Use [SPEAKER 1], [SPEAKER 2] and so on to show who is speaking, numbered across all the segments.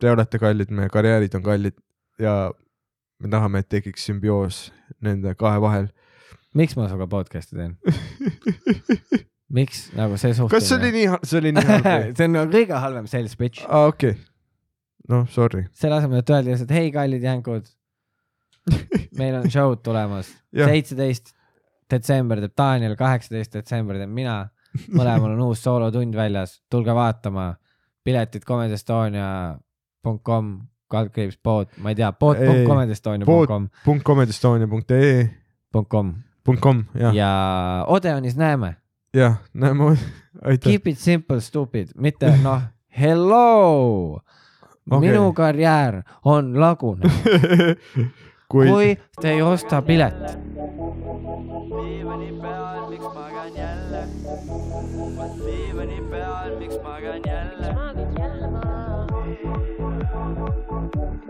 [SPEAKER 1] Te olete kallid, meie karjäärid on kallid ja me tahame , et tekiks sümbioos nende kahe vahel .
[SPEAKER 2] miks ma sinuga podcast'i teen ? miks nagu see suhtumine ?
[SPEAKER 1] kas see oli nii , see oli nii halb või ?
[SPEAKER 2] see on nagu kõige halvem sales pitch .
[SPEAKER 1] aa , okei . noh , sorry .
[SPEAKER 2] selle asemel , et öelda lihtsalt hei , kallid jänkud , meil on show'd tulemas .
[SPEAKER 1] Jah.
[SPEAKER 2] seitseteist detsember teeb Daniel , kaheksateist detsember teen mina . mõlemal on uus soolotund väljas , tulge vaatama . piletid comedyestonia.com , kaldkriips pood , ma ei tea ,
[SPEAKER 1] Ei,
[SPEAKER 2] pood.comedystonia.com ,
[SPEAKER 1] punkt comedystonia.ee
[SPEAKER 2] .com
[SPEAKER 1] punkt kom , jah ,
[SPEAKER 2] ja Odeonis näeme .
[SPEAKER 1] jah , näeme , aitäh .
[SPEAKER 2] Keep it simple , stupid , mitte noh , hello okay. ,
[SPEAKER 1] Okei.
[SPEAKER 2] minu karjäär on lagunenud .
[SPEAKER 1] kui, kui...
[SPEAKER 2] kui te ei osta pilet .
[SPEAKER 3] diivani peal , miks magan jälle ? vot diivani peal , miks magan jälle ?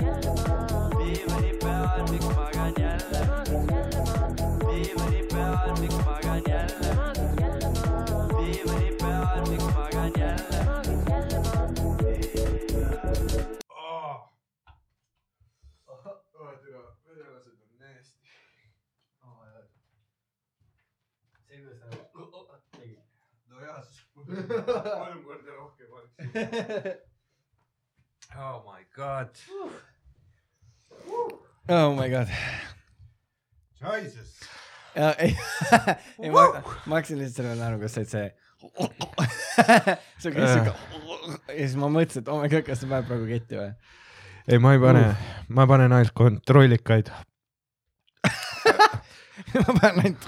[SPEAKER 4] Jellema.
[SPEAKER 3] diivani peal , miks magan jälle ?
[SPEAKER 4] Smaak het Jellema.
[SPEAKER 3] diivani peal , miks magan jälle ?
[SPEAKER 4] Smaak het Jellema.
[SPEAKER 3] diivani peal , miks magan jälle ?
[SPEAKER 4] Smaak het Jellema.
[SPEAKER 1] Ah. nagu- Oh, nojah , siis kolm korda rohkem oleks . Oh my god .
[SPEAKER 2] oh my god .
[SPEAKER 1] Jesus .
[SPEAKER 2] ei ei, ma , ma hakkasin lihtsalt selle naeruga , kas see , see , see käis siuke ja siis ma mõtlesin , et oh my god , kas see paneb praegu ketti või ?
[SPEAKER 1] ei , ma ei pane , ma panen ainult kontrollikaid .
[SPEAKER 2] ma panen ainult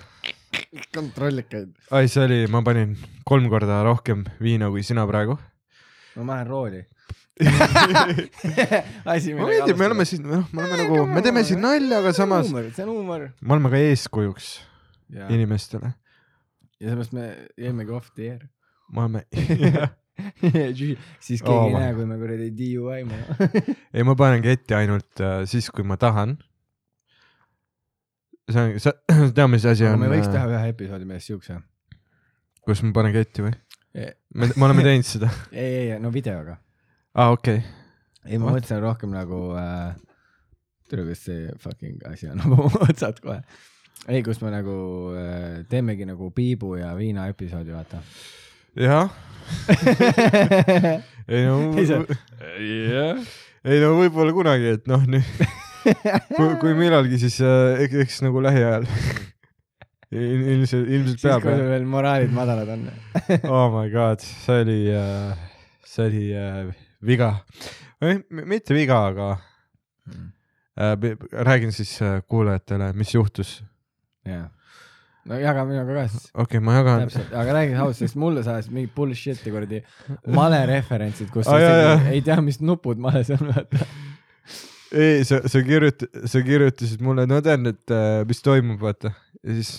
[SPEAKER 2] kontrollikaid .
[SPEAKER 1] ai , see oli , ma panin kolm korda rohkem viina kui sina praegu .
[SPEAKER 2] ma panen rooli . asi ,
[SPEAKER 1] mulle meeldib , me oleme siin , noh , me oleme nagu , me teeme siin nalja , aga samas
[SPEAKER 2] see on huumor .
[SPEAKER 1] me oleme ka eeskujuks
[SPEAKER 2] ja ja
[SPEAKER 1] inimestele .
[SPEAKER 2] sellepärast me jäimegi off the air .
[SPEAKER 1] me oleme ,
[SPEAKER 2] siis
[SPEAKER 1] Oh
[SPEAKER 2] keegi ei
[SPEAKER 1] my-
[SPEAKER 2] näe , kui me kuradi DUI-me .
[SPEAKER 1] ei , ma panen ketti ainult äh, siis , kui ma tahan . see on , sa tead , mis asi
[SPEAKER 2] aga
[SPEAKER 1] on äh,
[SPEAKER 2] me , võiks teha ühe episoodi mees siukse . E,
[SPEAKER 1] kus ma panen ketti või ?
[SPEAKER 2] ei ,
[SPEAKER 1] me , me oleme teinud seda .
[SPEAKER 2] ei , ei , e, no videoga . Ah,
[SPEAKER 1] aa , okei okay. .
[SPEAKER 2] ei , ma
[SPEAKER 1] What?
[SPEAKER 2] mõtlesin rohkem nagu äh, , tule , kas see fucking asi annab oma otsad kohe . ei , kus me nagu äh, teemegi nagu piibu ja viina episoodi , vaata .
[SPEAKER 1] jah , ei
[SPEAKER 2] Ei, see-
[SPEAKER 1] no , ei no võib-olla kunagi , et noh , nüüd kui , kui millalgi , siis äh, eks , eks nagu lähiajal Il, . ilmselt , ilmselt
[SPEAKER 2] siis ,
[SPEAKER 1] peab
[SPEAKER 2] kui sul
[SPEAKER 1] jah .
[SPEAKER 2] veel moraalid madalad on .
[SPEAKER 1] Oh my god , see oli äh, , see oli äh, viga . mitte viga , aga
[SPEAKER 2] Mm.
[SPEAKER 1] äh, pe- räägin siis äh, kuulajatele , mis juhtus
[SPEAKER 2] jah . no jaga minuga ka siis .
[SPEAKER 1] okei okay, , ma jagan .
[SPEAKER 2] täpselt , aga räägi ausalt , sest mulle sajas mingi bullshit'i kuradi male referentsid , kus sa
[SPEAKER 1] Aa, jaa,
[SPEAKER 2] isegi
[SPEAKER 1] jaa.
[SPEAKER 2] ei tea , mis nupud males on , vaata .
[SPEAKER 1] ei , sa , sa kirjut- , sa kirjutasid mulle , no tean , et äh, mis toimub , vaata . ja siis ,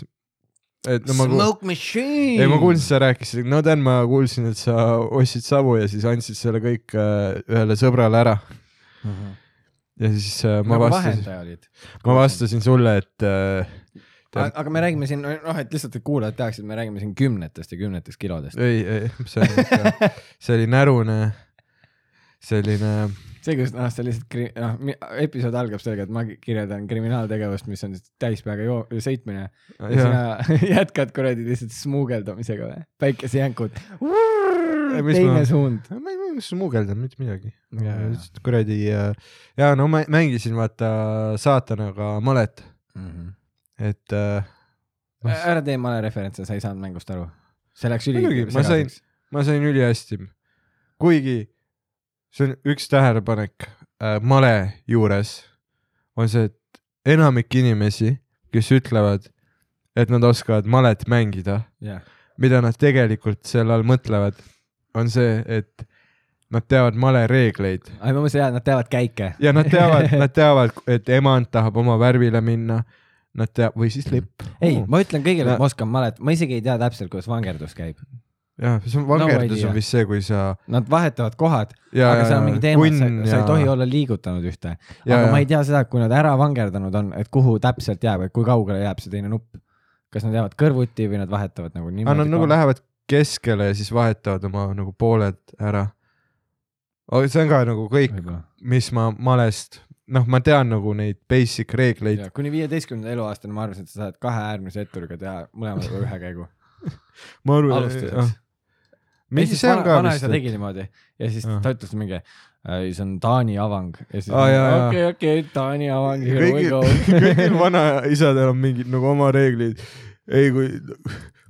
[SPEAKER 1] et no ma kuulsin ,
[SPEAKER 2] machine
[SPEAKER 1] ei ma kuulsin , sa rääkisid , no tean , ma kuulsin , et sa ostsid savu ja siis andsid selle kõik äh, ühele sõbrale ära . ja siis äh, ma
[SPEAKER 2] nagu
[SPEAKER 1] nagu vastasin ,
[SPEAKER 2] vahendaja olid .
[SPEAKER 1] ma vastasin sulle , et äh, tead ,
[SPEAKER 2] aga me räägime siin , noh , et lihtsalt , et kuulajad teaksid , me räägime siin kümnetest ja kümnetest kilodest .
[SPEAKER 1] ei , ei , see on ikka , see oli närune , selline
[SPEAKER 2] see , kus noh , see lihtsalt , noh , episood algab sellega , et ma kirjeldan kriminaaltegevust , mis on siis täispeaga joo- , sõitmine . ja
[SPEAKER 1] jah.
[SPEAKER 2] sina jätkad kuradi lihtsalt smuugeldamisega või ? päikesejänkud .
[SPEAKER 1] mis
[SPEAKER 2] teine
[SPEAKER 1] ma-
[SPEAKER 2] suund .
[SPEAKER 1] ma ei ma ei smuugelda mitte midagi
[SPEAKER 2] Jaa, jaa. .
[SPEAKER 1] kuradi äh, ja no ma mängisin vaata saatanaga malet , Mhm. et äh,
[SPEAKER 2] Ä- ära tee male referentse , sa ei saanud mängust aru . see läks üli .
[SPEAKER 1] Muidugi, ma sain- ma sain ülihästi . kuigi see on üks tähelepanek äh, male juures on see , et enamik inimesi , kes ütlevad , et nad oskavad malet mängida ,
[SPEAKER 2] jah ,
[SPEAKER 1] mida nad tegelikult selle all mõtlevad , on see , et nad teavad male reegleid
[SPEAKER 2] aga ma mõtlesin , et nad teavad käike .
[SPEAKER 1] ja nad teavad , nad teavad , et emand tahab oma värvile minna . Nad teab või siis lipp .
[SPEAKER 2] ei , ma ütlen kõigile ,
[SPEAKER 1] Ma-
[SPEAKER 2] et ma oskan malet , ma isegi ei tea täpselt , kuidas vangerdus käib .
[SPEAKER 1] jah , see on vangerdus
[SPEAKER 2] idea.
[SPEAKER 1] on vist see , kui sa .
[SPEAKER 2] Nad vahetavad kohad , aga seal on mingi teema , et sa, sa ei tohi olla liigutanud ühte . aga ja. ma ei tea seda , kui nad ära vangerdanud on , et kuhu täpselt jääb , et kui kaugele jääb see teine nupp . kas nad jäävad kõrvuti või nad vahetavad nagu niimoodi .
[SPEAKER 1] aga nad nagu . lähevad keskele ja siis vahetavad oma nagu pooled ära . aga see on ka nagu kõik , mis ma malest , noh , ma tean nagu neid basic reegleid .
[SPEAKER 2] kuni viieteistkümnenda eluaastani ma arvasin , et sa saad kahe äärmise etturiga teha mõlemaga ühe käigu .
[SPEAKER 1] ma arvan ,
[SPEAKER 2] alustuseks .
[SPEAKER 1] mingi see on ka
[SPEAKER 2] vanaisa
[SPEAKER 1] vist ,
[SPEAKER 2] tegi niimoodi ja siis
[SPEAKER 1] Ah.
[SPEAKER 2] ta ütles mingi , see on Taani avang ja siis
[SPEAKER 1] Aa, jaa, jaa.
[SPEAKER 2] okei , okei , Taani avang , here we
[SPEAKER 1] kõigil
[SPEAKER 2] go ,
[SPEAKER 1] kõigil vanaisadel on mingid nagu oma reeglid . ei , kui ,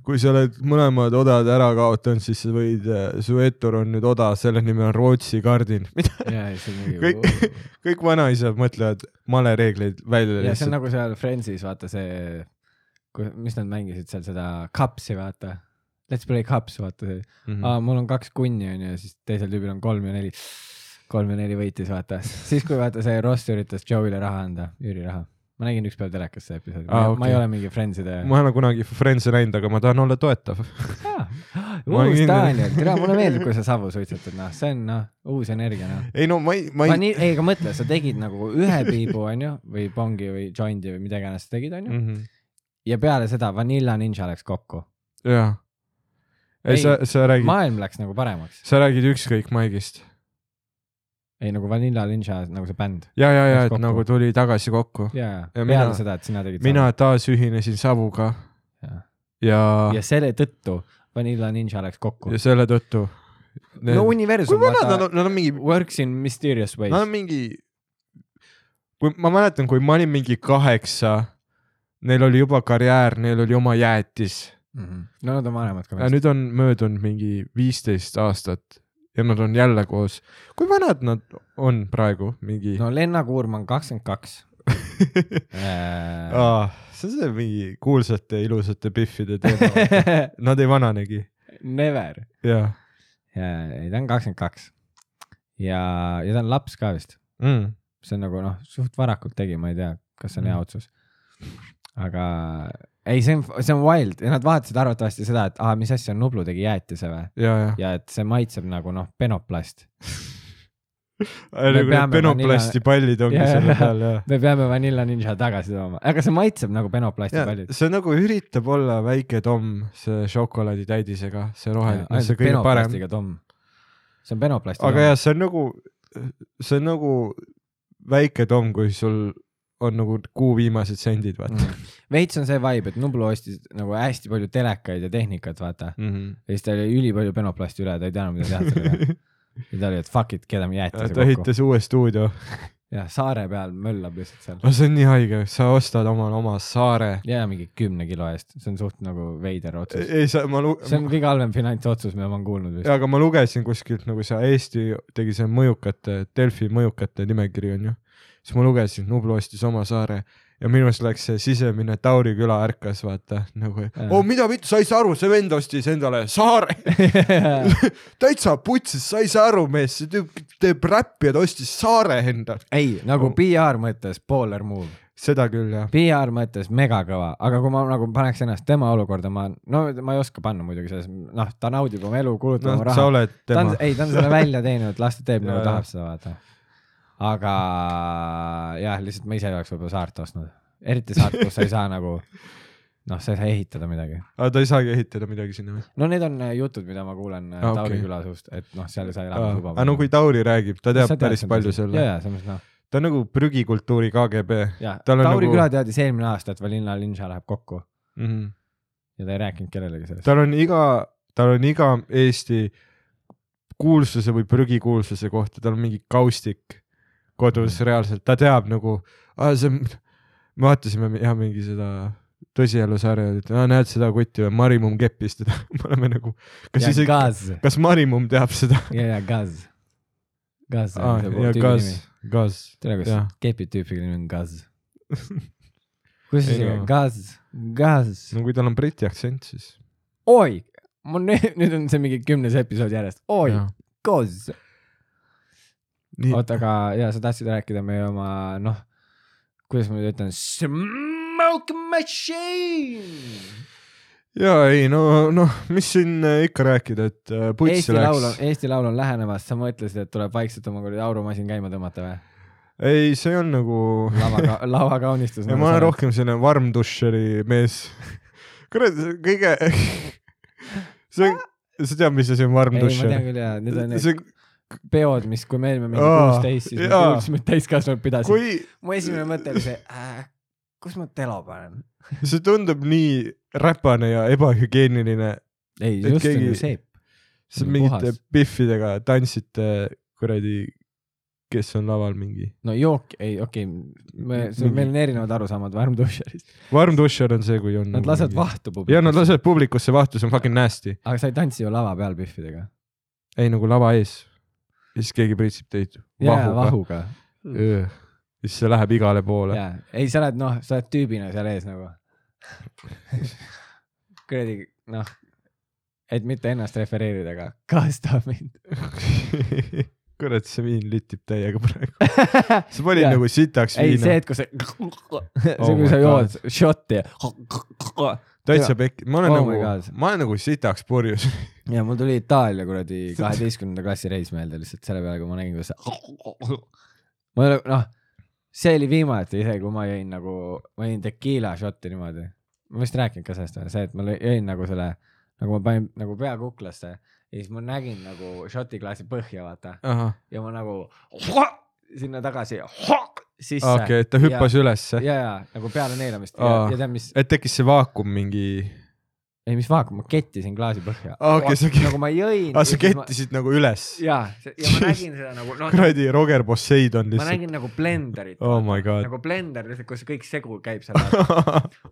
[SPEAKER 1] kui sa oled mõlemad odad ära kaotanud , siis sa võid , su ettur on nüüd oda , selle nimi on Rootsi kardin .
[SPEAKER 2] ja siis on
[SPEAKER 1] kõik
[SPEAKER 2] mingi ,,
[SPEAKER 1] kõik vanaisad mõtlevad malereegleid välja
[SPEAKER 2] ja see on
[SPEAKER 1] lihtsalt .
[SPEAKER 2] nagu seal Friendsis vaata see , mis nad mängisid seal seda cups'i vaata . Let's play cups vaata see ,
[SPEAKER 1] Mm. Mhm.
[SPEAKER 2] aa mul on kaks kunni onju ja siis teisel tüübil on kolm ja neli . kolm ja neli võitis vaata , siis kui vaata see Ross üritas Joe'ile raha anda , üüriraha . ma nägin ükspäev telekas seda episoodi ,
[SPEAKER 1] Aa,
[SPEAKER 2] ma
[SPEAKER 1] okei.
[SPEAKER 2] ei ole mingi Friendside .
[SPEAKER 1] ma ei ole kunagi Friends'i näinud , aga ma tahan olla toetav . Ma
[SPEAKER 2] uus
[SPEAKER 1] kindel-
[SPEAKER 2] Daniel , tere , mulle meeldib , kui sa savu suitsetad , noh , see on noh , uus energia noh .
[SPEAKER 1] ei no ma ei , ma
[SPEAKER 2] ma
[SPEAKER 1] ei .
[SPEAKER 2] nii , ei , aga mõtle , sa tegid nagu ühe piibu onju või pongi või jondi või mida iganes sa tegid
[SPEAKER 1] Mm.
[SPEAKER 2] onju
[SPEAKER 1] Mhm.
[SPEAKER 2] ja peale seda Vanilla Ninja läks kokku .
[SPEAKER 1] jaa . ei
[SPEAKER 2] Ei,
[SPEAKER 1] sa , sa räägid ,
[SPEAKER 2] maailm läks nagu paremaks .
[SPEAKER 1] sa räägid ükskõik Maigist .
[SPEAKER 2] ei nagu Vanilla Ninja nagu see bänd .
[SPEAKER 1] ja , ja , ja
[SPEAKER 2] Läks ,
[SPEAKER 1] et
[SPEAKER 2] kokku.
[SPEAKER 1] nagu tuli tagasi kokku .
[SPEAKER 2] ja , ja
[SPEAKER 1] Ja
[SPEAKER 2] peale
[SPEAKER 1] mina-
[SPEAKER 2] mina, seda , et sina tegid .
[SPEAKER 1] mina taas ühinesin Savuga
[SPEAKER 2] Jaa.
[SPEAKER 1] ja ,
[SPEAKER 2] ja selle tõttu Vanilla Ninja läks kokku
[SPEAKER 1] Ah. ja . selle tõttu .
[SPEAKER 2] no universum ,
[SPEAKER 1] kui vanad nad
[SPEAKER 2] vaata ,
[SPEAKER 1] on , nad on mingi ,
[SPEAKER 2] works in mysterious ways
[SPEAKER 1] nad on . mingi , kui ma mäletan , kui ma olin mingi kaheksa , neil oli juba karjäär , neil oli oma jäätis
[SPEAKER 2] Mhm. no nad on vanemad ka
[SPEAKER 1] ja . nüüd on möödunud mingi viisteist aastat ja nad on jälle koos . kui vanad nad on praegu , mingi no. ?
[SPEAKER 2] no Lenna Kuurmann kakskümmend kaks . Äh,
[SPEAKER 1] Aa, Ah, see on see mingi kuulsate ilusate piffide teema . Nad ei vananegi ,
[SPEAKER 2] Never .
[SPEAKER 1] jah
[SPEAKER 2] ei , ta on kakskümmend kaks . ja , ja ta on laps ka vist .
[SPEAKER 1] mm. .
[SPEAKER 2] see on nagu noh , suht varakult tegi , ma ei tea , kas see on
[SPEAKER 1] Mm.
[SPEAKER 2] hea otsus . aga ei , see on , see on wild ja nad vaatasid arvatavasti seda , et aa , mis asja , Nublu tegi jäätise või ?
[SPEAKER 1] ja , ja,
[SPEAKER 2] ja et see maitseb nagu noh , penoplast .
[SPEAKER 1] ja . nagu need
[SPEAKER 2] peame
[SPEAKER 1] penoplasti pallid ongi
[SPEAKER 2] Jaa,
[SPEAKER 1] yeah. selle
[SPEAKER 2] jaa.
[SPEAKER 1] peal , jah .
[SPEAKER 2] me peame Vanilla Ninja tagasi tooma , aga see maitseb nagu penoplasti
[SPEAKER 1] Ja,
[SPEAKER 2] paljud .
[SPEAKER 1] see nagu üritab olla väike Tom , see šokolaaditäidisega , see roheline , see kõige parem .
[SPEAKER 2] penoplastiga tomm . see on penoplasti
[SPEAKER 1] aga jah , see on nagu , see on nagu väike Tom , kui sul on nagu kuu viimased sendid , vaata
[SPEAKER 2] Mm. veits on see vibe , et Nublu ostis nagu hästi palju telekaid ja tehnikat , vaata .
[SPEAKER 1] mm . -hmm.
[SPEAKER 2] ja siis tal oli ülipalju penoplasti üle , ta ei teadnud , mida teha sellega . ja ta oli , et fuck it , keedame jäätise
[SPEAKER 1] ta
[SPEAKER 2] kokku .
[SPEAKER 1] ehitas uue stuudio .
[SPEAKER 2] jah , saare peal möllab lihtsalt seal .
[SPEAKER 1] no see on nii haige , sa ostad omale oma saare .
[SPEAKER 2] ja mingi kümne kilo eest , see on suht nagu veider otsus .
[SPEAKER 1] ei , sa , ma lu- ,
[SPEAKER 2] see on kõige halvem finantsotsus , mida ma olen kuulnud vist .
[SPEAKER 1] aga ma lugesin kuskilt nagu see Eesti tegi see mõjukate , Delfi mõjukate nimekiri onju . siis ma lugesin , Nublu ostis oma saare ja minu arust läks see sisemine Tauri küla ärkas , vaata nagu ,
[SPEAKER 2] Jaa.
[SPEAKER 1] oo mida , sa ei saa aru , see vend ostis endale saare . täitsa putsis , sa ei saa aru , mees , see tüüp teeb räppi ja ta ostis saare endale .
[SPEAKER 2] ei , nagu PR mõttes baller move ,
[SPEAKER 1] seda küll jah .
[SPEAKER 2] PR mõttes megakõva , aga kui ma nagu paneks ennast tema olukorda , ma , no ma ei oska panna muidugi selles , noh , ta naudib oma elu , kulutab
[SPEAKER 1] noh
[SPEAKER 2] oma , raha
[SPEAKER 1] sa . oled
[SPEAKER 2] ta on
[SPEAKER 1] tema ,.
[SPEAKER 2] ei , ta on selle välja teeninud , las ta teeb
[SPEAKER 1] Jaa,
[SPEAKER 2] nagu
[SPEAKER 1] jaa.
[SPEAKER 2] tahab seda vaata . aga jah , lihtsalt ma ise ei oleks võib-olla saart ostnud , eriti saart , kus sa ei saa nagu noh , sa ei saa ehitada midagi .
[SPEAKER 1] aga ta ei saagi ehitada midagi sinna või ?
[SPEAKER 2] no need on äh, jutud , mida ma kuulen äh,
[SPEAKER 1] Aa, okei.
[SPEAKER 2] Tauri küla suust , et noh , seal ei saa elamisluba .
[SPEAKER 1] aga no kui Tauri räägib , ta teab päris palju selle .
[SPEAKER 2] ja , ja selles mõttes noh ,
[SPEAKER 1] ta on nagu prügikultuuri KGB
[SPEAKER 2] ja
[SPEAKER 1] Tal on
[SPEAKER 2] Tauri
[SPEAKER 1] nagu-
[SPEAKER 2] küla teadis eelmine aasta , et Valinna linša läheb kokku
[SPEAKER 1] mm . -hmm
[SPEAKER 2] ja ta ei rääkinud kellelegi sellest .
[SPEAKER 1] tal on iga , tal on iga Eesti kuulsuse või prügikuulsuse kohta , tal on mingi kaustik kodus
[SPEAKER 2] Mm.
[SPEAKER 1] reaalselt , ta teab nagu , see on , me vaatasime mi- jah mingi seda tõsielu sarja , et aa, näed seda kuti või Marimum keppis teda , me oleme nagu , kas
[SPEAKER 2] ja
[SPEAKER 1] isegi ,
[SPEAKER 2] Gaz ,
[SPEAKER 1] kas Marimum teab seda ?
[SPEAKER 2] ja , ja Gaz . Gaz
[SPEAKER 1] aa ,
[SPEAKER 2] on
[SPEAKER 1] ja
[SPEAKER 2] see tüübi
[SPEAKER 1] Gaz
[SPEAKER 2] nimi .,
[SPEAKER 1] Gaz ,
[SPEAKER 2] tere , kas
[SPEAKER 1] Jah.
[SPEAKER 2] kepid tüüpi nimi on Gaz ? kuidas
[SPEAKER 1] Ei
[SPEAKER 2] see
[SPEAKER 1] no.
[SPEAKER 2] on , Gaz , Gaz
[SPEAKER 1] no kui tal on briti aktsent , siis .
[SPEAKER 2] oi , mul nüüd , nüüd on see mingi kümnes episood järjest , oi ,
[SPEAKER 1] nii ,
[SPEAKER 2] Gaz . oota , aga ja sa tahtsid rääkida meie oma noh , kuidas ma nüüd ütlen , smoke machine .
[SPEAKER 1] ja ei no , noh , mis siin äh, ikka rääkida , et äh, putsi
[SPEAKER 2] Eesti laul on
[SPEAKER 1] läks ,.
[SPEAKER 2] Eesti laul on lähenemas , sa mõtlesid , et tuleb vaikselt oma kuradi aurumasin käima tõmmata või ?
[SPEAKER 1] ei , see on nagu ,
[SPEAKER 2] lava , lavakaunistus .
[SPEAKER 1] ma olen . rohkem selline varm dušeri mees . kurat , kõige , see on , sa tead , mis asi on varm
[SPEAKER 2] ei , ma tean
[SPEAKER 1] dušer ?
[SPEAKER 2] küll ja need on need
[SPEAKER 1] see on ,
[SPEAKER 2] peod , mis , kui me olime mingi
[SPEAKER 1] Aa,
[SPEAKER 2] kuusteist , siis me
[SPEAKER 1] jaa.
[SPEAKER 2] kuulsime , et täiskasvanud pidasid .
[SPEAKER 1] kui
[SPEAKER 2] mu esimene mõte oli see äh, , kus ma telo panen ?
[SPEAKER 1] see tundub nii räpane ja ebahügieeniline ,
[SPEAKER 2] ei ,
[SPEAKER 1] Et
[SPEAKER 2] just see on
[SPEAKER 1] keegi-
[SPEAKER 2] ju see .
[SPEAKER 1] sa
[SPEAKER 2] See on
[SPEAKER 1] mingite
[SPEAKER 2] Mm, puhas.
[SPEAKER 1] piffidega tantsite kuradi , kes on laval mingi .
[SPEAKER 2] no jook , ei okei okay. , me , meil on erinevad arusaamad värmdušerist .
[SPEAKER 1] varm dušer on see , kui on .
[SPEAKER 2] Nad lasevad . vahtu publikus .
[SPEAKER 1] ja Mm. nad lasevad publikusse vahtu , see on fucking nasty .
[SPEAKER 2] aga sa ei tantsi ju lava peal pühvidega .
[SPEAKER 1] ei nagu lava ees . ja siis keegi pritsib teid
[SPEAKER 2] jaa ,
[SPEAKER 1] vahuga .
[SPEAKER 2] vahuga .
[SPEAKER 1] ja siis see läheb igale poole .
[SPEAKER 2] jaa , ei , sa oled noh , sa oled tüübina seal ees nagu . kuradi , noh , et mitte ennast refereerida , aga kastab mind .
[SPEAKER 1] kurat , see viin litib täiega praegu . sa panid
[SPEAKER 2] Jaa.
[SPEAKER 1] nagu sitaks
[SPEAKER 2] ei , see
[SPEAKER 1] viina .
[SPEAKER 2] hetk , kui sa , see
[SPEAKER 1] Oh
[SPEAKER 2] kui
[SPEAKER 1] my
[SPEAKER 2] sa
[SPEAKER 1] God.
[SPEAKER 2] jood šotti ja .
[SPEAKER 1] täitsa pekki , ma olen
[SPEAKER 2] Oh my
[SPEAKER 1] nagu
[SPEAKER 2] God. ,
[SPEAKER 1] ma olen nagu sitaks purjus .
[SPEAKER 2] ja mul tuli Itaalia kuradi kaheteistkümnenda klassi reis meelde lihtsalt selle peale , kui ma nägin , kuidas sa . ma ei ole , noh , see oli viimati isegi , kui ma jõin nagu , ma jõin tekiila šotti niimoodi . ma vist rääkinud ka sellest , see , et ma lõi- jõin nagu selle , nagu ma panin nagu pea kuklasse ja siis ma nägin nagu šoti klaasi põhja , vaata ,
[SPEAKER 1] okei ,
[SPEAKER 2] ja ma nagu sinna tagasi sisse .
[SPEAKER 1] et ta hüppas ülesse
[SPEAKER 2] ja , ja nagu peale neelamist ja,
[SPEAKER 1] Aa.
[SPEAKER 2] ja tead , mis ,
[SPEAKER 1] et tekkis see vaakum mingi .
[SPEAKER 2] ei , mis vaakum , ma kettisin klaasi põhja .
[SPEAKER 1] Aa, okei, sa ke-
[SPEAKER 2] nagu ma jõin .
[SPEAKER 1] aa , sa . kettisid nagu üles .
[SPEAKER 2] ja , ja ma nägin seda nagu , noh ,
[SPEAKER 1] kuradi Roger Poseidon
[SPEAKER 2] ma
[SPEAKER 1] lihtsalt .
[SPEAKER 2] nägin nagu blenderit
[SPEAKER 1] Oh my god .
[SPEAKER 2] nagu blender lihtsalt , kus kõik segu käib seal .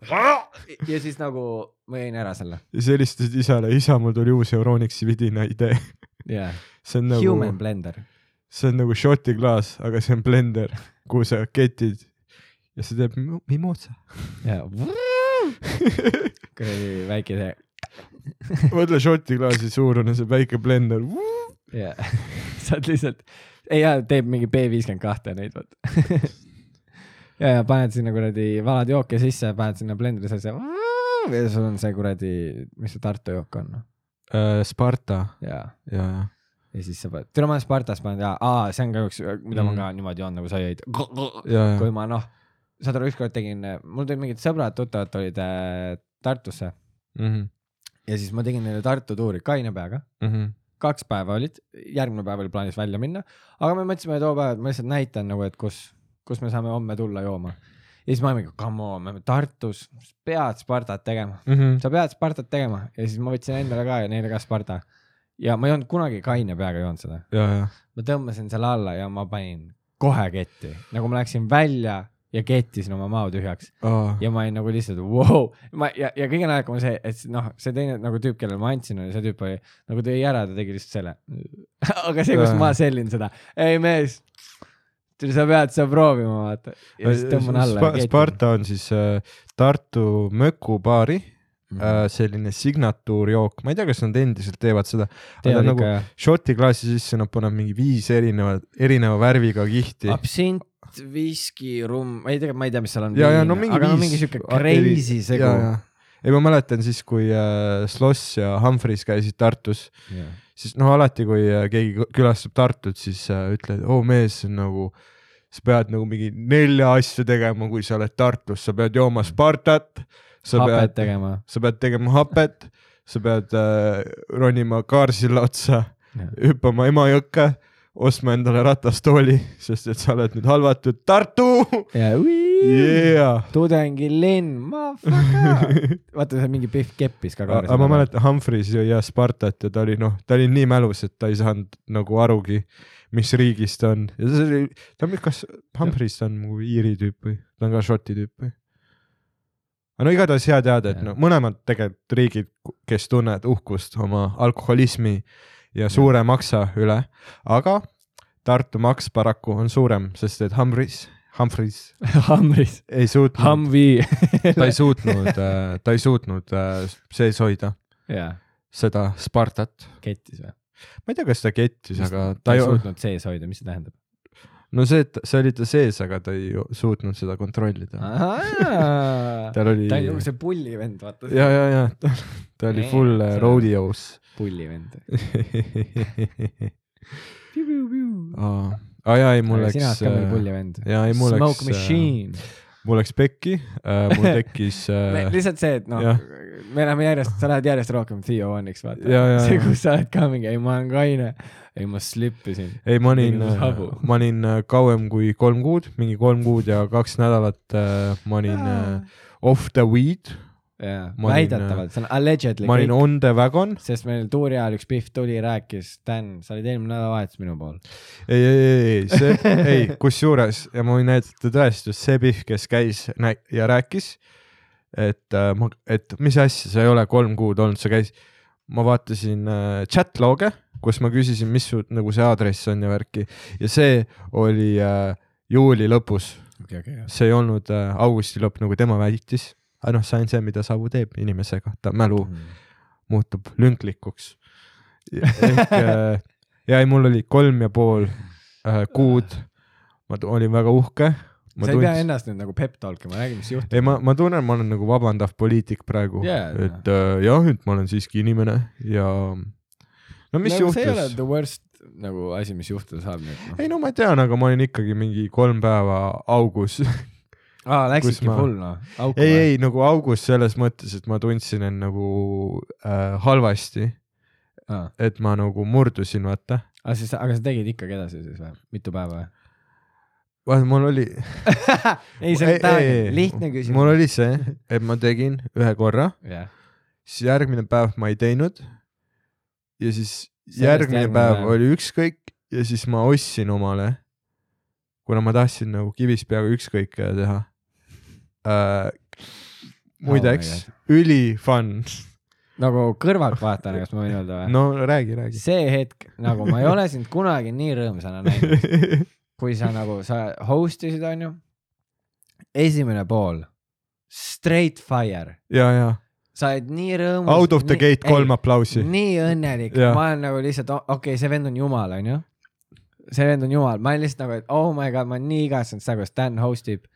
[SPEAKER 2] Nagu- ja siis nagu ma jõin ära selle .
[SPEAKER 1] ja sa helistasid isale , isa , mul tuli uus Euronixi vidina idee .
[SPEAKER 2] jaa ,
[SPEAKER 1] see on
[SPEAKER 2] human
[SPEAKER 1] nagu ,
[SPEAKER 2] blender .
[SPEAKER 1] see on nagu šoti klaas , aga see on blender , kuhu sa ketid ja see teeb mi- mimootsa .
[SPEAKER 2] jaa , kuradi väike see ,
[SPEAKER 1] mõtle šoti klaasi suurune , see väike blender .
[SPEAKER 2] jaa . saad lihtsalt , ei jaa , teeb mingi B viiskümmend kahte neid , vot . ja , ja paned sinna kuradi valad jooke sisse , paned sinna blenderisse , see ja sul on see kuradi , mis see Tartu jook on , noh.
[SPEAKER 1] Äh, Sparta
[SPEAKER 2] jaa
[SPEAKER 1] ja , ja .
[SPEAKER 2] ja siis sa paned , tere ma olen Spartas pannud ja aa , see on ka üks , mida mm. ma ka niimoodi joon nagu sa jõid .
[SPEAKER 1] ja , ja
[SPEAKER 2] kui , ma noh , saad aru , ükskord tegin , mul tulid mingid sõbrad , tuttavad olid äh, Tartusse
[SPEAKER 1] Mhm,
[SPEAKER 2] ja siis ma tegin neile Tartu tuuri kaine peaga . kaks päeva olid , järgmine päev oli plaanis välja minna , aga me mõtlesime too päev , et ma lihtsalt näitan nagu , et kus , kus me saame homme tulla jooma . ja siis ma olin , come on , me oleme Tartus , pead Spartat tegema . sa pead Spartat tegema ja siis ma võtsin endale ka ja neile ka Sparta . ja ma ei olnud kunagi kaine peaga joonud seda
[SPEAKER 1] ja , ja .
[SPEAKER 2] ma tõmbasin selle alla ja ma panin kohe ketti , nagu ma läksin välja ja kettisin oma mao tühjaks ja ma olin nagu lihtsalt vau , ma ja , ja kõige naljakam on see , et s- noh , see teine nagu tüüp , kellele ma andsin , oli see tüüp oli nagu tõi ära , ta tegi lihtsalt selle . aga see , kus ma sellin seda , ei mees , sa pead seda proovima , vaata . ja siis tõmban alla ja ketin .
[SPEAKER 1] Sparta on siis äh, Tartu mökubaari
[SPEAKER 2] Mhm.
[SPEAKER 1] äh, selline signatuurjook , ma ei tea , kas nad endiselt teevad seda , aga
[SPEAKER 2] tead
[SPEAKER 1] nagu
[SPEAKER 2] ikka jah ?
[SPEAKER 1] šoti klaasi sisse nad panevad mingi viis erinevat , erineva värviga kihti .
[SPEAKER 2] absint , viski , rumm , ma ei tea , ma ei tea , mis seal on .
[SPEAKER 1] ja , ja no mingi viis .
[SPEAKER 2] aga
[SPEAKER 1] Ah,
[SPEAKER 2] no mingi siuke crazy segu .
[SPEAKER 1] ei , ma mäletan siis , kui äh, Sloss ja Humphreys käisid Tartus , siis noh , alati kui äh, keegi kü- külastab Tartut , siis äh, ütled , oo mees , nagu sa pead nagu mingi nelja asja tegema , kui sa oled Tartus , sa pead jooma Spartat , sa
[SPEAKER 2] hapet
[SPEAKER 1] pead ,
[SPEAKER 2] tegema .
[SPEAKER 1] sa pead tegema hapet , sa pead äh, ronima Kaarsilla otsa hüppama Emajõkke , ostma endale ratastooli , sest et sa oled nüüd halvatud Tartu
[SPEAKER 2] ja yeah.
[SPEAKER 1] yeah. .
[SPEAKER 2] tudengilinn , motherfucker . vaata , see mingi Pihv keppis ka
[SPEAKER 1] aga ma . mäletan , Humphreys jõi ja Spartat ja ta oli noh , ta oli nii mälus , et ta ei saanud nagu arugi , mis riigis ta on ja see oli , ta on , kas Humphreys ta on nagu Iiri tüüp või , ta on ka Šoti tüüp või ? aga no igatahes hea teada , et
[SPEAKER 2] Jah.
[SPEAKER 1] no mõlemad tegelikult riigid , kes tunnevad uhkust oma alkoholismi ja suure maksa üle , aga Tartu maks paraku on suurem , sest et Humphreys , Humphreys
[SPEAKER 2] Hamris ,
[SPEAKER 1] ei suutnud ,
[SPEAKER 2] Humvee .
[SPEAKER 1] ta ei suutnud , ta ei suutnud äh, sees hoida
[SPEAKER 2] jaa ,
[SPEAKER 1] seda Spartat .
[SPEAKER 2] kettis või ?
[SPEAKER 1] ma ei tea , kas ta kettis , aga
[SPEAKER 2] ta
[SPEAKER 1] ta
[SPEAKER 2] ei
[SPEAKER 1] ju ,
[SPEAKER 2] suutnud sees hoida , mis see tähendab ?
[SPEAKER 1] no see , et see oli ta sees , aga ta ei ju- suutnud seda kontrollida .
[SPEAKER 2] ta
[SPEAKER 1] tal oli ,
[SPEAKER 2] on nagu see pullivend , vaata .
[SPEAKER 1] ja , ja , ja ta, ta oli
[SPEAKER 2] Nee,
[SPEAKER 1] full
[SPEAKER 2] see-
[SPEAKER 1] see... rodeos .
[SPEAKER 2] pullivend .
[SPEAKER 1] aa , aa jaa , ei mul läks äh,
[SPEAKER 2] sina oled , ka meil pullivend .
[SPEAKER 1] jaa , ei mul
[SPEAKER 2] Smoke
[SPEAKER 1] läks , äh,
[SPEAKER 2] machine .
[SPEAKER 1] mul läks pekki , mul tekkis äh,
[SPEAKER 2] lihtsalt see , et noh
[SPEAKER 1] jah. ,
[SPEAKER 2] me läheme järjest , sa lähed järjest rohkem Theo Oniks ,
[SPEAKER 1] Ja,
[SPEAKER 2] vaata
[SPEAKER 1] ja, .
[SPEAKER 2] see ,
[SPEAKER 1] ja.
[SPEAKER 2] kus sa oled ka mingi , ei ma olen kaine , ei ma slippisin .
[SPEAKER 1] ei , ma olin
[SPEAKER 2] Mingisuguse habu. ,
[SPEAKER 1] ma olin äh, kauem kui kolm kuud , mingi kolm kuud ja kaks nädalat äh, ma olin äh, off the weed ,
[SPEAKER 2] jaa ,
[SPEAKER 1] Ma olin,
[SPEAKER 2] väidetavalt , see on allegedly
[SPEAKER 1] ma olin
[SPEAKER 2] kõik ,
[SPEAKER 1] on the vegan .
[SPEAKER 2] sest meil tuuri ajal üks Pihv tuli , rääkis , Dan , sa olid eelmine nädalavahetus minu pool .
[SPEAKER 1] ei , ei , ei , ei , see , ei , kusjuures ja ma võin näidata tõestust , see Pihv , kes käis nä- ja rääkis , et äh, ma , et mis asja , sa ei ole kolm kuud olnud , sa käis , ma vaatasin äh, chatlog'e , kus ma küsisin , mis su nagu see aadress on ja värki ja see oli äh, juuli lõpus
[SPEAKER 2] okei , okei ,
[SPEAKER 1] see ei olnud äh, augusti lõpp , nagu tema väitis . aga noh , see on see , mida savu teeb inimesega , ta mälu
[SPEAKER 2] Mm.
[SPEAKER 1] muutub lünklikuks . ehk äh, ja ei , mul oli kolm ja pool äh, kuud . ma tu- olin väga uhke .
[SPEAKER 2] sa ei pea ennast nüüd nagu pep talk ima , räägi , mis juhtub .
[SPEAKER 1] ei , ma , ma tunnen , ma olen nagu vabandav poliitik praegu
[SPEAKER 2] Jaa, jaa.
[SPEAKER 1] et äh, jah , et ma olen siiski inimene ja no mis no,
[SPEAKER 2] see ei ole
[SPEAKER 1] juhtus ?
[SPEAKER 2] the worst nagu asi , mis juhtuda saab nüüd . noh.
[SPEAKER 1] ei no ma tean , aga ma olin ikkagi mingi kolm päeva augus
[SPEAKER 2] aa ,
[SPEAKER 1] kus
[SPEAKER 2] läksidki
[SPEAKER 1] ma-
[SPEAKER 2] full noh , auku
[SPEAKER 1] ei ,? ei nagu august selles mõttes , et ma tundsin end nagu äh, halvasti ,
[SPEAKER 2] aa ,
[SPEAKER 1] et ma nagu murdusin , vaata .
[SPEAKER 2] Ah, siis , aga sa tegid ikkagi edasi siis või , mitu päeva või ?
[SPEAKER 1] vaata , mul oli .
[SPEAKER 2] ei , see on täiega lihtne küsimus .
[SPEAKER 1] mul oli see , et ma tegin ühe korra ,
[SPEAKER 2] jah ,
[SPEAKER 1] siis järgmine päev ma ei teinud . ja siis
[SPEAKER 2] Sellest
[SPEAKER 1] järgmine
[SPEAKER 2] järgmine
[SPEAKER 1] päev
[SPEAKER 2] päev.
[SPEAKER 1] oli ükskõik ja siis ma ostsin omale , kuna ma tahtsin nagu kivis peaga ükskõik teha äh, . muideks oh , üli fun .
[SPEAKER 2] nagu kõrvaltvaatajana , kas ma võin öelda või ?
[SPEAKER 1] no räägi , räägi .
[SPEAKER 2] see hetk , nagu ma ei ole sind kunagi nii rõõmsana näinud , kui sa nagu , sa host isid , onju . esimene pool , straight fire ,
[SPEAKER 1] ja , ja
[SPEAKER 2] sa oled nii rõõmus .
[SPEAKER 1] out of the gate kolm . aplausi .
[SPEAKER 2] nii õnnelik ,
[SPEAKER 1] Jah.
[SPEAKER 2] ma olen nagu lihtsalt , okei okay, , see vend on jumal , onju . see vend on jumal , ma olen lihtsalt nagu , et oh my god , ma olen nii igatsenud seda , kuidas Dan host ib .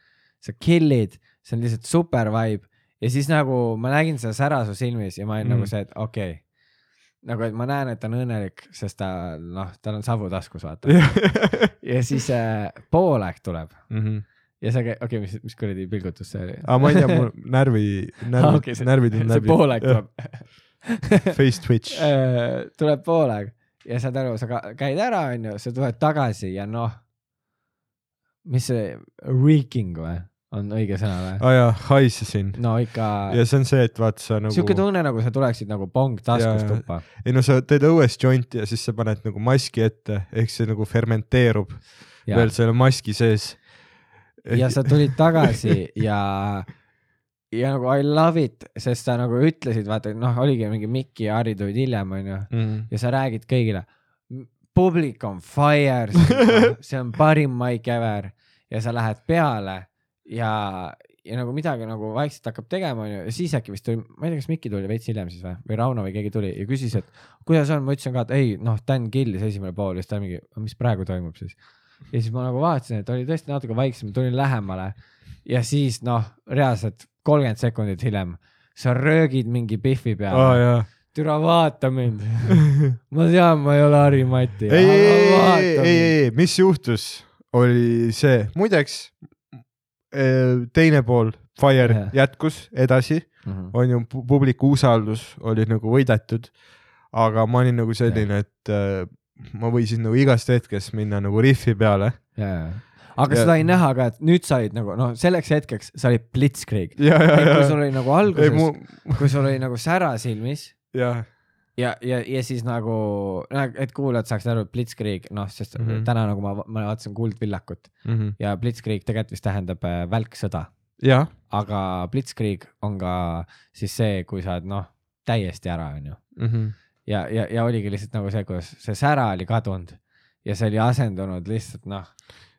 [SPEAKER 2] sa kill'id , see on lihtsalt super vibe ja siis nagu ma nägin seda sära su silmis ja ma olin mm.
[SPEAKER 1] Mhm.
[SPEAKER 2] nagu see , et okei okay. nagu , et ma näen , et ta on õnnelik , sest ta noh , tal on savu taskus , vaata . ja siis äh, poolaeg tuleb ja sa , okei okay, , mis , mis kuradi pilgutus see oli ?
[SPEAKER 1] Mhm. aga ma ei tea , mul närvi ,
[SPEAKER 2] Ah,
[SPEAKER 1] närvid
[SPEAKER 2] okei, , see-
[SPEAKER 1] närvid on
[SPEAKER 2] see
[SPEAKER 1] läbi .
[SPEAKER 2] poolaeg . tuleb .
[SPEAKER 1] Face twitch .
[SPEAKER 2] Äh, tuleb poolega ja saad aru , sa ka- käid ära , onju , sa tuled tagasi ja noh , mis see , reeking või , on õige sõna või ?
[SPEAKER 1] aa Oh jaa , haisesin .
[SPEAKER 2] no ikka
[SPEAKER 1] ja see on see , et vaata sa
[SPEAKER 2] Äh. siuke
[SPEAKER 1] nagu ,
[SPEAKER 2] tunne , nagu sa tuleksid nagu pong taskust
[SPEAKER 1] Jaa, jaa.
[SPEAKER 2] tuppa .
[SPEAKER 1] ei no sa teed õues jointi ja siis sa paned nagu maski ette , ehk see nagu fermenteerub ja. veel selle maski sees .
[SPEAKER 2] ja sa tulid tagasi ja , ja nagu I love it , sest sa nagu ütlesid , vaata , noh , oligi mingi Mikki ja Harri tulid hiljem , onju ,
[SPEAKER 1] mm. .
[SPEAKER 2] ja sa räägid kõigile . publik on fire , see on parim maik ever ja sa lähed peale ja , ja nagu midagi nagu vaikselt hakkab tegema , onju , ja siis äkki vist tuli , ma ei tea , kas Mikki tuli veits hiljem siis või , või Rauno või keegi tuli ja küsis , et kuidas on , ma ütlesin ka , et ei noh , Dan killis esimene pool ja siis ta mingi , mis praegu toimub siis . ja siis ma nagu vaatasin , et oli tõesti natuke vaiksem , tulin lähemale ja siis noh , reaalselt kolmkümmend sekundit hiljem sa röögid mingi pihvi peale
[SPEAKER 1] aa Oh jaa .
[SPEAKER 2] türa vaata mind . ma tean , ma ei ole Harri Mati .
[SPEAKER 1] ei , ei , ei , ei , ei , ei , mis juhtus , oli see , muideks äh, teine pool , Fire
[SPEAKER 2] Jah.
[SPEAKER 1] jätkus edasi on ju pu- publiku usaldus oli nagu võidetud . aga ma olin nagu selline , et äh, ma võisin nagu igast hetkest minna nagu rifi peale .
[SPEAKER 2] aga
[SPEAKER 1] Ja-
[SPEAKER 2] seda ei näha ka , et nüüd sa olid nagu noh , selleks hetkeks sa olid blitzkrieg .
[SPEAKER 1] ja , ja ,
[SPEAKER 2] kui sul
[SPEAKER 1] ja ,
[SPEAKER 2] oli nagu
[SPEAKER 1] ei mu
[SPEAKER 2] alguses ,, kui sul oli nagu sära silmis
[SPEAKER 1] ja ,
[SPEAKER 2] ja , ja , ja siis nagu , et kuulajad saaksid aru , et blitzkrieg , noh , sest mm
[SPEAKER 1] Mhm.
[SPEAKER 2] -hmm. täna nagu ma , ma vaatasin Kuldvillakut ja blitzkrieg tegelikult vist tähendab äh, välksõda
[SPEAKER 1] ja ,
[SPEAKER 2] aga blitzkrieg on ka siis see , kui sa oled noh , täiesti ära , onju .
[SPEAKER 1] Mhm.
[SPEAKER 2] ja , ja , ja oligi lihtsalt nagu see , kuidas see sära oli kadunud ja see oli asendunud lihtsalt noh ,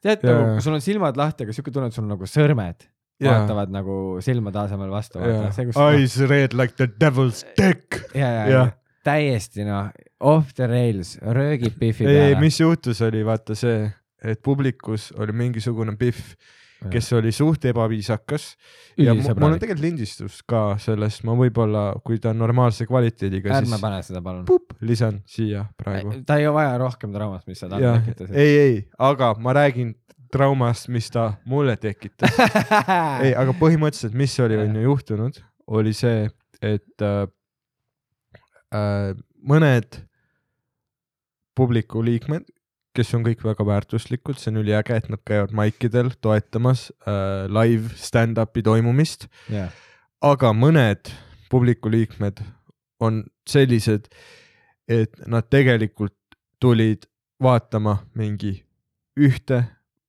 [SPEAKER 2] tead
[SPEAKER 1] Jaa.
[SPEAKER 2] nagu kui sul on silmad lahti , aga siuke tunne , et sul on nagu sõrmed ja.
[SPEAKER 1] ja ,
[SPEAKER 2] vaatavad nagu silmade asemel vastu . ja ,
[SPEAKER 1] Eyes red like the devil's dick .
[SPEAKER 2] ja , ja
[SPEAKER 1] jah.
[SPEAKER 2] täiesti noh , off the rails , röögib pihvi
[SPEAKER 1] ei ,
[SPEAKER 2] peale .
[SPEAKER 1] mis juhtus , oli vaata see , et publikus oli mingisugune Pihv , kes oli suht ebaviisakas ja mu- mul on
[SPEAKER 2] ülisõbralik ,
[SPEAKER 1] tegelikult lindistus ka sellest , ma võib-olla , kui ta on normaalse kvaliteediga ,
[SPEAKER 2] ärme
[SPEAKER 1] siis
[SPEAKER 2] pane seda palun .
[SPEAKER 1] pup, lisan siia praegu .
[SPEAKER 2] ta ei vaja rohkem traumat , mis sa talle
[SPEAKER 1] jah ,
[SPEAKER 2] tekitasid .
[SPEAKER 1] nagu. ei , ei , aga ma räägin traumast , mis ta mulle tekitas . ei , aga põhimõtteliselt , mis oli , on ju juhtunud , oli see , et äh, äh, mõned publiku liikmed , kes on kõik väga väärtuslikud , see on üliäge , et nad käivad maikidel toetamas äh, live stand-up'i toimumist ,
[SPEAKER 2] jah ,
[SPEAKER 1] aga mõned publiku liikmed on sellised , et nad tegelikult tulid vaatama mingi ühte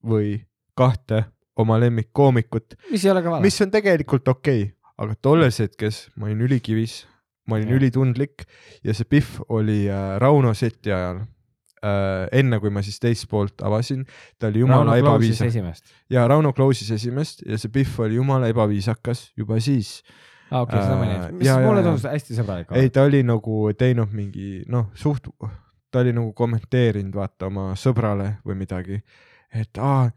[SPEAKER 1] või kahte oma lemmikkoomikut ,
[SPEAKER 2] mis ei ole ka vale .
[SPEAKER 1] mis on tegelikult okei okay, , aga tolles hetkes ma olin ülikivis , ma olin
[SPEAKER 2] Jah.
[SPEAKER 1] ülitundlik ja see pihv oli äh, Rauno seti ajal äh, . enne kui ma siis teist poolt avasin , ta oli jumala ebaviisakas
[SPEAKER 2] esimest .
[SPEAKER 1] ja Rauno Klausis esimest ja see pihv oli jumala ebaviisakas juba siis
[SPEAKER 2] aa , okei , seda ma ei
[SPEAKER 1] Äh,
[SPEAKER 2] näinud . mis
[SPEAKER 1] jaa, jaa,
[SPEAKER 2] mulle
[SPEAKER 1] jaa.
[SPEAKER 2] tundus hästi sõbralik .
[SPEAKER 1] ei , ta oli nagu teinud mingi noh , suht , ta oli nagu kommenteerinud vaata oma sõbrale või midagi , et aa ,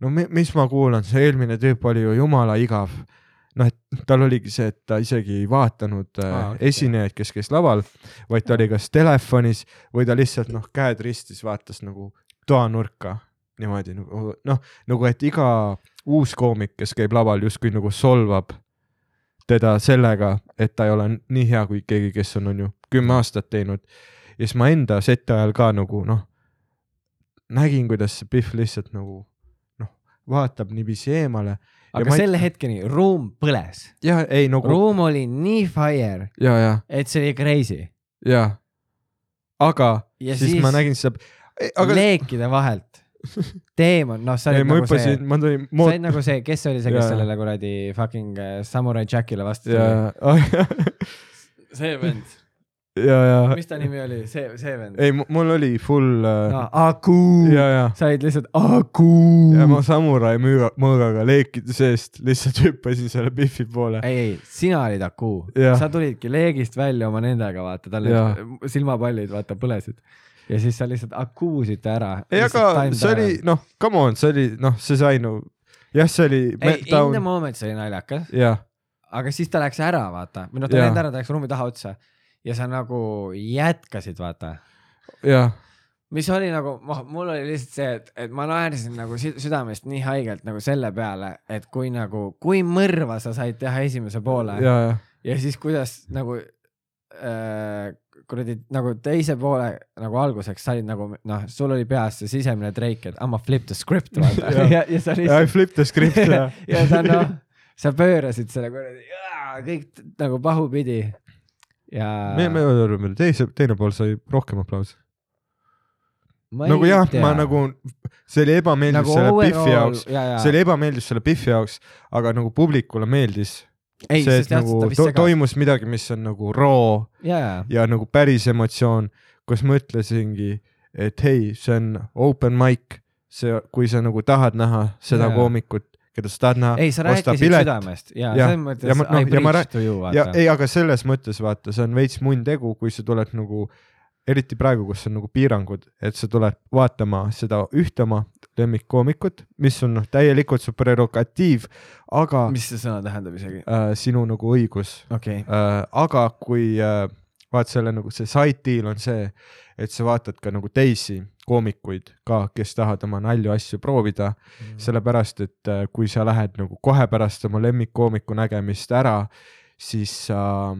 [SPEAKER 1] no mi- mis ma kuulan , see eelmine tüüp oli ju jumala igav . noh , et tal oligi see , et ta isegi ei vaatanud äh,
[SPEAKER 2] Aa, okei.
[SPEAKER 1] esinejaid , kes käis laval , vaid ta oli kas telefonis või ta lihtsalt noh , käed ristis , vaatas nagu toanurka niimoodi nagu noh , nagu et iga uus koomik , kes käib laval , justkui nagu solvab teda sellega , et ta ei ole nii hea kui keegi , kes on , on ju kümme aastat teinud . ja siis ma enda seti ajal ka nagu noh , nägin , kuidas see Pihv lihtsalt nagu noh , vaatab niiviisi eemale ja
[SPEAKER 2] aga
[SPEAKER 1] ma ei-
[SPEAKER 2] selle hetkeni ruum põles ,
[SPEAKER 1] ja ei nagu
[SPEAKER 2] ruum oli nii fire ,
[SPEAKER 1] ja , ja ,
[SPEAKER 2] et see oli crazy .
[SPEAKER 1] ja aga
[SPEAKER 2] ja
[SPEAKER 1] ja siis, siis ma nägin seda , aga
[SPEAKER 2] leekide vahelt teemant , noh , sa
[SPEAKER 1] ei
[SPEAKER 2] olid
[SPEAKER 1] ma
[SPEAKER 2] nagu see
[SPEAKER 1] hüppasin ,, ma tulin
[SPEAKER 2] sa
[SPEAKER 1] mood-
[SPEAKER 2] olid nagu see , kes oli see ,
[SPEAKER 1] Jaa.
[SPEAKER 2] kes sellele kuradi fucking äh, samurai Jackile vastu
[SPEAKER 1] ja
[SPEAKER 2] tuli ?,
[SPEAKER 1] ja ,
[SPEAKER 2] see vend ,
[SPEAKER 1] ja , ja
[SPEAKER 2] mis ta nimi oli , see , see vend ?
[SPEAKER 1] ei , mul oli full äh,
[SPEAKER 2] Aku ,
[SPEAKER 1] ja , ja
[SPEAKER 2] sa olid lihtsalt Aku . Mm.
[SPEAKER 1] ja ma samurai mõõga , mõõgaga leekide seest lihtsalt hüppasin selle Biffi poole .
[SPEAKER 2] ei , ei , sina olid Aku ,
[SPEAKER 1] Jah.
[SPEAKER 2] sa tulidki leegist välja oma nendega , vaata , tal
[SPEAKER 1] Jah.
[SPEAKER 2] need silmapallid , vaata , põlesid ja siis sa lihtsalt akuusid ta ära .
[SPEAKER 1] ei , aga see oli , noh , come on , see oli , noh , see sai no , jah , see oli .
[SPEAKER 2] ei , in the moment see oli naljakas ,
[SPEAKER 1] jah ,
[SPEAKER 2] aga siis ta läks ära , vaata , või noh , ta
[SPEAKER 1] Jah.
[SPEAKER 2] ei läinud ära , ta läks ruumi taha otsa ja sa nagu jätkasid , vaata
[SPEAKER 1] jah ,
[SPEAKER 2] mis oli nagu , mul oli lihtsalt see , et , et ma naersin nagu sü- südamest nii haigelt nagu selle peale , et kui nagu , kui mõrva sa said teha esimese poole ja,
[SPEAKER 1] ja , ja ,
[SPEAKER 2] ja siis kuidas nagu äh, kuradi nagu teise poole nagu alguseks said nagu noh , sul oli peas see sisemine treik , et I m a flip the script vaata
[SPEAKER 1] Jah.
[SPEAKER 2] ja , ja sa
[SPEAKER 1] I
[SPEAKER 2] lihtsalt
[SPEAKER 1] flipped the script ja .
[SPEAKER 2] ja sa noh , sa pöörasid selle kuradi , kõik t- nagu pahupidi ja .
[SPEAKER 1] me , me oleme teise , teine pool sai rohkem aplausi . nagu jah , ma nagu , see oli ebameeldiv nagu selle Biffi jaoks , see oli ebameeldiv selle Biffi jaoks , aga nagu publikule meeldis
[SPEAKER 2] ei,
[SPEAKER 1] see , et nagu to toimus midagi , mis on nagu raw
[SPEAKER 2] jaa ,
[SPEAKER 1] ja nagu päris emotsioon , kus ma ütlesingi , et hei , see on open mic , see , kui sa nagu tahad näha seda
[SPEAKER 2] Jaa.
[SPEAKER 1] yeah. koomikut , keda sa tahad näha ,
[SPEAKER 2] ei sa rääkisid südamest ja,
[SPEAKER 1] Jah.
[SPEAKER 2] ja selles
[SPEAKER 1] Ja
[SPEAKER 2] mõttes
[SPEAKER 1] ma- noh,
[SPEAKER 2] I
[SPEAKER 1] ja ma
[SPEAKER 2] preach
[SPEAKER 1] rää-
[SPEAKER 2] to you
[SPEAKER 1] ja
[SPEAKER 2] vaata .
[SPEAKER 1] ei , aga selles mõttes vaata , see on veits munn tegu , kui sa tuled nagu , eriti praegu , kus on nagu piirangud , et sa tuled vaatama seda ühte oma lemmikkoomikut , mis on noh , täielikult su prerogatiiv , aga
[SPEAKER 2] mis see sõna tähendab isegi ?
[SPEAKER 1] äh, sinu nagu õigus
[SPEAKER 2] okei okay. ,
[SPEAKER 1] äh, . aga kui äh, vaat selle nagu see side deal on see , et sa vaatad ka nagu teisi koomikuid ka , kes tahavad oma nalju asju proovida mm. ,
[SPEAKER 2] Mhm.
[SPEAKER 1] sellepärast et äh, kui sa lähed nagu kohe pärast oma lemmikkoomiku nägemist ära , siis sa äh,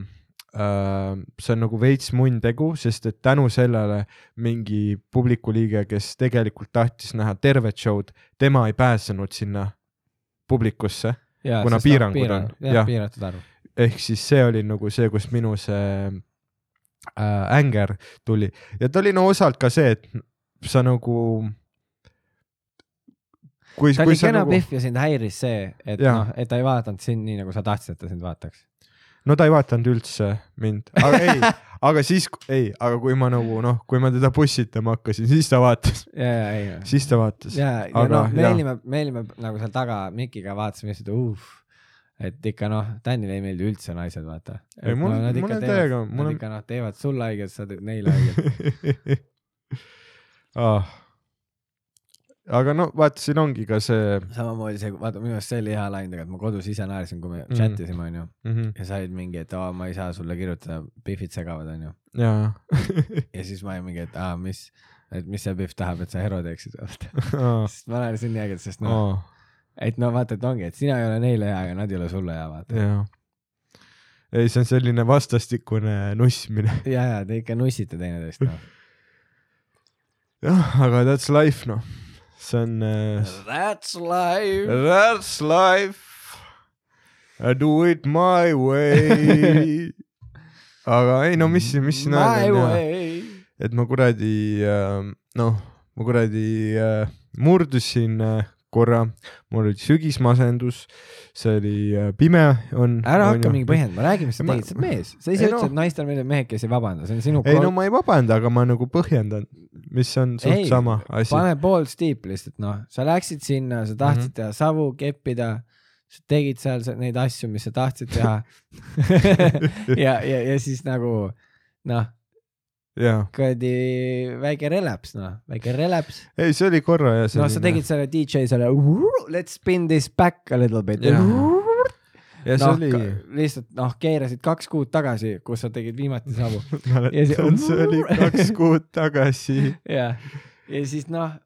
[SPEAKER 1] äh, see on nagu veits munn tegu , sest et tänu sellele mingi publiku liige , kes tegelikult tahtis näha tervet show'd , tema ei pääsenud sinna publikusse kuna piirangud on,
[SPEAKER 2] jah
[SPEAKER 1] jah. ,
[SPEAKER 2] piiratud arv .
[SPEAKER 1] ehk siis see oli nagu see , kus minu see äh, änger tuli ja ta oli no osalt ka see , et sa nagu . kui ,
[SPEAKER 2] ta
[SPEAKER 1] kui
[SPEAKER 2] oli
[SPEAKER 1] sa
[SPEAKER 2] kena
[SPEAKER 1] nagu ,
[SPEAKER 2] pihv ja sind häiris see , et
[SPEAKER 1] Jaa.
[SPEAKER 2] noh , et ta ei vaadanud sind nii , nagu sa tahtsid , et ta sind vaataks .
[SPEAKER 1] no ta ei vaadanud üldse mind , aga ei , aga siis , ei , aga kui ma nagu noh , kui ma teda pussitama hakkasin , siis ta vaatas ,
[SPEAKER 2] ja , ja , ei .
[SPEAKER 1] siis ta vaatas .
[SPEAKER 2] ja , ja
[SPEAKER 1] aga
[SPEAKER 2] noh , me
[SPEAKER 1] jah.
[SPEAKER 2] olime , me olime nagu seal taga Mikiga vaatasime lihtsalt , uh et ikka noh , Tänile ei meeldi üldse naised , vaata .
[SPEAKER 1] Ei, mul- mul on täiega- mul
[SPEAKER 2] Nad
[SPEAKER 1] on-
[SPEAKER 2] ikka noh , teevad sulle haiget , sa teed neile haiget .
[SPEAKER 1] ah. aga no vaata , siin ongi ka see
[SPEAKER 2] samamoodi see , vaata minu arust see oli hea lain tegelikult , ma kodus ise naersin , kui me
[SPEAKER 1] Mhm.
[SPEAKER 2] mm. chat isime , onju .
[SPEAKER 1] mm -hmm.
[SPEAKER 2] ja sa olid mingi , et aa , ma ei saa sulle kirjutada , pihvid segavad , onju .
[SPEAKER 1] ja
[SPEAKER 2] ja siis ma olin mingi , et aa , mis , et mis see pihv tahab , et sa hero teeksid .
[SPEAKER 1] oh,
[SPEAKER 2] sest ma naersin nii ägedalt , sest noh ,
[SPEAKER 1] oh,
[SPEAKER 2] et no vaata , et ongi , et sina ei ole neile hea , aga nad ei ole sulle hea , vaata .
[SPEAKER 1] ja ei , see on selline vastastikune nussmine .
[SPEAKER 2] ja , ja te ikka nussite teineteist , noh .
[SPEAKER 1] jah , aga that's life noh , see on äh,
[SPEAKER 2] That's life .
[SPEAKER 1] That's life . I do it my way . aga ei no mis , mis siin
[SPEAKER 2] My
[SPEAKER 1] öelda ,
[SPEAKER 2] way .
[SPEAKER 1] et ma kuradi äh, noh , ma kuradi äh, murdusin äh, korra , mul oli sügismasendus , see oli äh, pime on .
[SPEAKER 2] ära hakka mingi . põhjendama , räägi , mis sa
[SPEAKER 1] Ma-
[SPEAKER 2] tegid , sa oled mees . sa
[SPEAKER 1] Ei
[SPEAKER 2] ise
[SPEAKER 1] no.
[SPEAKER 2] ütlesid , et naistel meeldib mehed , kes ei vabanda , see on sinu
[SPEAKER 1] ei no ma ei vabanda , aga ma nagu põhjendan , mis on suht
[SPEAKER 2] Ei,
[SPEAKER 1] ei, sama asi .
[SPEAKER 2] pane pool stiip lihtsalt noh , sa läksid sinna , sa
[SPEAKER 1] Mhm.
[SPEAKER 2] tahtsid mm -hmm. teha savu , keppida , sa tegid seal sa- neid asju , mis sa tahtsid teha ja , ja , ja siis nagu noh ,
[SPEAKER 1] jaa ,
[SPEAKER 2] kuradi väike relaps noh , väike relaps .
[SPEAKER 1] ei see oli korra ja
[SPEAKER 2] noh , sa
[SPEAKER 1] selline .
[SPEAKER 2] tegid selle DJ selle let's spin this back a little bit .
[SPEAKER 1] Jah.
[SPEAKER 2] noh ,
[SPEAKER 1] ja see oli ,
[SPEAKER 2] lihtsalt noh , keerasid kaks kuud tagasi , kus sa tegid viimati savu .
[SPEAKER 1] mäletan , see oli kaks kuud tagasi
[SPEAKER 2] ja , ja siis noh ,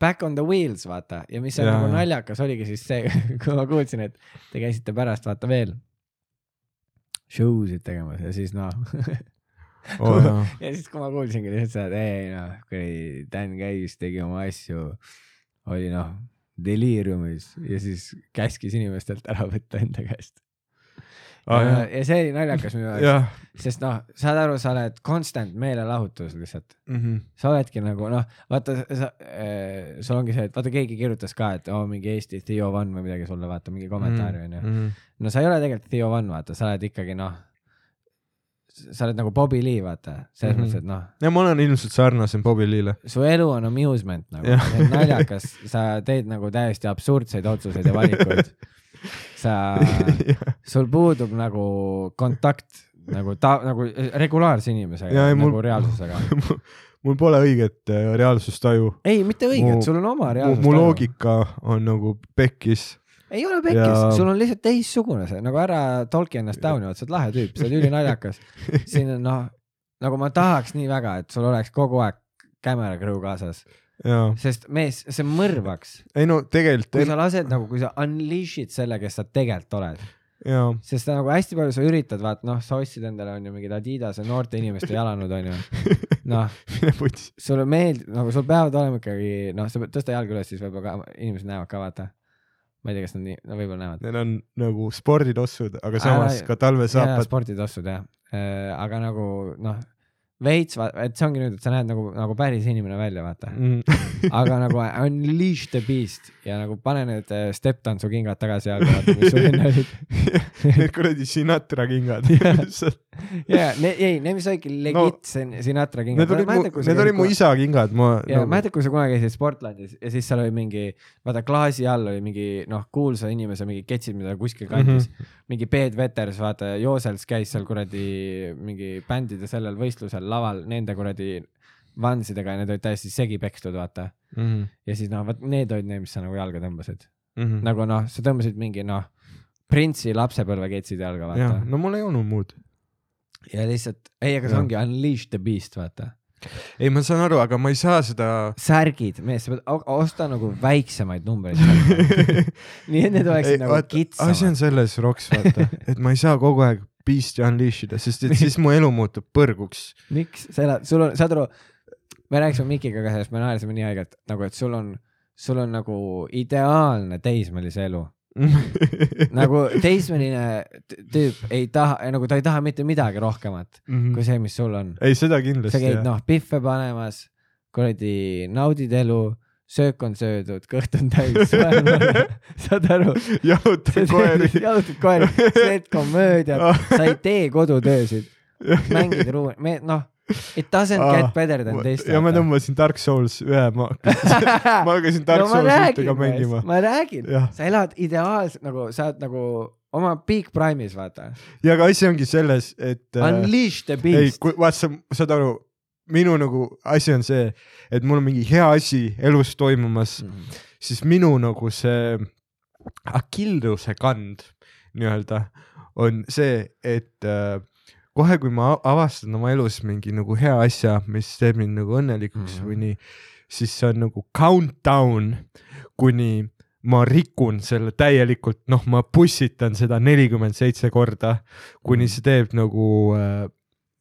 [SPEAKER 2] back on the wheels vaata ja mis on
[SPEAKER 1] Jaa.
[SPEAKER 2] nagu naljakas oligi siis see , kui ma kuulsin , et te käisite pärast vaata veel show sid tegemas ja siis noh ,
[SPEAKER 1] oh, . jaa
[SPEAKER 2] ja siis kui ma kuulsingi lihtsalt seda , et ei noh , kuradi Dan käis , tegi oma asju , oli noh deliiriumis ja siis käskis inimestelt ära võtta enda käest .
[SPEAKER 1] ah, .
[SPEAKER 2] ja,
[SPEAKER 1] jah ,
[SPEAKER 2] ja see oli naljakas minu jaoks ,
[SPEAKER 1] jah
[SPEAKER 2] sest noh , saad aru , sa oled constant meelelahutus lihtsalt .
[SPEAKER 1] mm . -hmm.
[SPEAKER 2] sa oledki nagu noh , vaata sa äh, , sul ongi see , et vaata , keegi kirjutas ka , et oo oh, mingi Eesti Theo Van või midagi sulle , vaata mingi kommentaari onju mm. .
[SPEAKER 1] -hmm.
[SPEAKER 2] no sa ei ole tegelikult Theo Van , vaata , sa oled ikkagi noh , sa oled nagu Bobby Lee , vaata , selles mm
[SPEAKER 1] Mhm.
[SPEAKER 2] -hmm. mõttes , et noh ,
[SPEAKER 1] ja ma olen ilmselt sarnasem Bobby Lee'le .
[SPEAKER 2] su elu on amusement nagu
[SPEAKER 1] Jah. ,
[SPEAKER 2] naljakas , sa teed nagu täiesti absurdseid otsuseid ja valikuid . sa , sul puudub nagu kontakt nagu ta , nagu regulaarse inimesega ,
[SPEAKER 1] Jaa, ei,
[SPEAKER 2] nagu
[SPEAKER 1] mul-
[SPEAKER 2] mul... reaalsusega .
[SPEAKER 1] mul pole õiget äh, reaalsustaju .
[SPEAKER 2] ei , mitte õiget
[SPEAKER 1] Mu- ,
[SPEAKER 2] sul on oma reaalsus .
[SPEAKER 1] mu loogika on nagu pekkis .
[SPEAKER 2] ei ole pekkis
[SPEAKER 1] Ja- ,
[SPEAKER 2] ja... sul on lihtsalt teistsugune see , nagu ära tolki ennast down'i , oled sa oled lahe tüüp , sa oled ülinaljakas . siin on noh , nagu ma tahaks nii väga , et sul oleks kogu aeg camera crew kaasas ,
[SPEAKER 1] jaa ,
[SPEAKER 2] sest mees , see mõrvaks ,
[SPEAKER 1] ei no tegelikult
[SPEAKER 2] kui
[SPEAKER 1] en... ,
[SPEAKER 2] sa lased nagu , kui sa unleash'id selle , kes sa tegelikult oled ,
[SPEAKER 1] jaa ,
[SPEAKER 2] sest sa nagu hästi palju sa üritad , vaat noh , sa ostsid endale onju mingid Adidase noorte inimeste jalanõud onju , noh
[SPEAKER 1] mine putsi .
[SPEAKER 2] sulle meeldib , nagu sul peavad olema ikkagi , noh , sa pead tõsta jalga üles , siis võib-olla ka inimesed näevad ka , vaata . ma ei tea , kas nad nii , no võib-olla näevad .
[SPEAKER 1] Need on nagu sporditossud , aga
[SPEAKER 2] Ära-
[SPEAKER 1] samas ka
[SPEAKER 2] jaa ,
[SPEAKER 1] talvesaapad .
[SPEAKER 2] sporditossud jah , aga nagu noh , veits , et see ongi nüüd , et sa näed nagu , nagu päris inimene välja , vaata .
[SPEAKER 1] Mm.
[SPEAKER 2] aga nagu unleash the beast ja nagu pane need äh, step tantsu kingad tagasi jalga , vaata mis sul enne olid .
[SPEAKER 1] Need kuradi Sinatra kingad . Need
[SPEAKER 2] ja , ei , need , mis olidki legit no, Sinatra kingad .
[SPEAKER 1] olid mu , need olid mu isa kingad , ma .
[SPEAKER 2] ja no. mäletad , kui sa kunagi käisid Sportlandis ja siis seal oli mingi , vaata klaasi all oli mingi noh , kuulsa inimese mingi ketsid , mida kuskil kandis mm .
[SPEAKER 1] Mhm.
[SPEAKER 2] -hmm. mingi Peet Veters , vaata , Joosels käis seal kuradi mingi bändide sellel võistlusel laval nende kuradi vansidega ja need olid täiesti segi pekstud , vaata . ja siis noh , vot need olid need , mis sa nagu jalga tõmbasid .
[SPEAKER 1] Mhm.
[SPEAKER 2] nagu noh , sa tõmbasid mingi noh , printsi lapsepõlve ketsid jalga , vaata
[SPEAKER 1] jah , no mul ei olnud muud .
[SPEAKER 2] ja lihtsalt , ei , aga see
[SPEAKER 1] Jah.
[SPEAKER 2] ongi Unleash the Beast , vaata .
[SPEAKER 1] ei , ma saan aru , aga ma ei saa seda
[SPEAKER 2] särgid , mees , sa pead o- osta nagu väiksemaid numbreid . nii et need
[SPEAKER 1] Ei,
[SPEAKER 2] oleksid ei, nagu
[SPEAKER 1] vaata, asi on
[SPEAKER 2] kitsamad .
[SPEAKER 1] selles , Roks , vaata , et ma ei saa kogu aeg beast'i unleash ida , sest et siis mu elu muutub põrguks .
[SPEAKER 2] miks sa elad , sul on , saad aru , me rääkisime Mikiga ka sellest , me naersime nii haigelt , nagu et sul on , sul on nagu ideaalne teismelise elu . nagu teismeline t- tüüp ei taha , nagu ta ei taha mitte midagi rohkemat
[SPEAKER 1] Hmm.
[SPEAKER 2] kui see , mis sul on .
[SPEAKER 1] ei , seda
[SPEAKER 2] sa
[SPEAKER 1] kindlasti
[SPEAKER 2] käid . noh pihve panemas , kuradi naudid elu , söök on söödud , kõht on täis , saad aru
[SPEAKER 1] jahutan koeri . Ah.
[SPEAKER 2] jalutad koeri , sa teed komöödiat , sa ei tee kodutöösid , mängid ruumi , me noh , it doesn't ah, get better than this .
[SPEAKER 1] ja ma tõmbasin Dark Souls ühe , ma hakkasin ,
[SPEAKER 2] Ah,
[SPEAKER 1] ma hakkasin Dark no, Souls ühtega mängima .
[SPEAKER 2] ma räägin
[SPEAKER 1] Jah. ,
[SPEAKER 2] sa elad ideaalselt nagu sa oled nagu oma peak prime'is , vaata .
[SPEAKER 1] ja aga asi ongi selles , et .
[SPEAKER 2] Unleash the
[SPEAKER 1] ei ,
[SPEAKER 2] beast ,
[SPEAKER 1] vaata , sa saad aru , minu nagu asi on see , et mul on mingi hea asi elus toimumas ,
[SPEAKER 2] Mm.
[SPEAKER 1] siis minu nagu see akilluse kand nii-öelda on see , et äh, kohe , kui ma a- avastan oma elus mingi nagu hea asja , mis teeb mind nagu õnnelikuks mm -hmm.
[SPEAKER 2] Mhm.
[SPEAKER 1] või nii , siis see on nagu countdown , kuni ma rikun selle täielikult , noh , ma pussitan seda nelikümmend seitse korda ,
[SPEAKER 2] Mhm.
[SPEAKER 1] kuni see teeb nagu äh,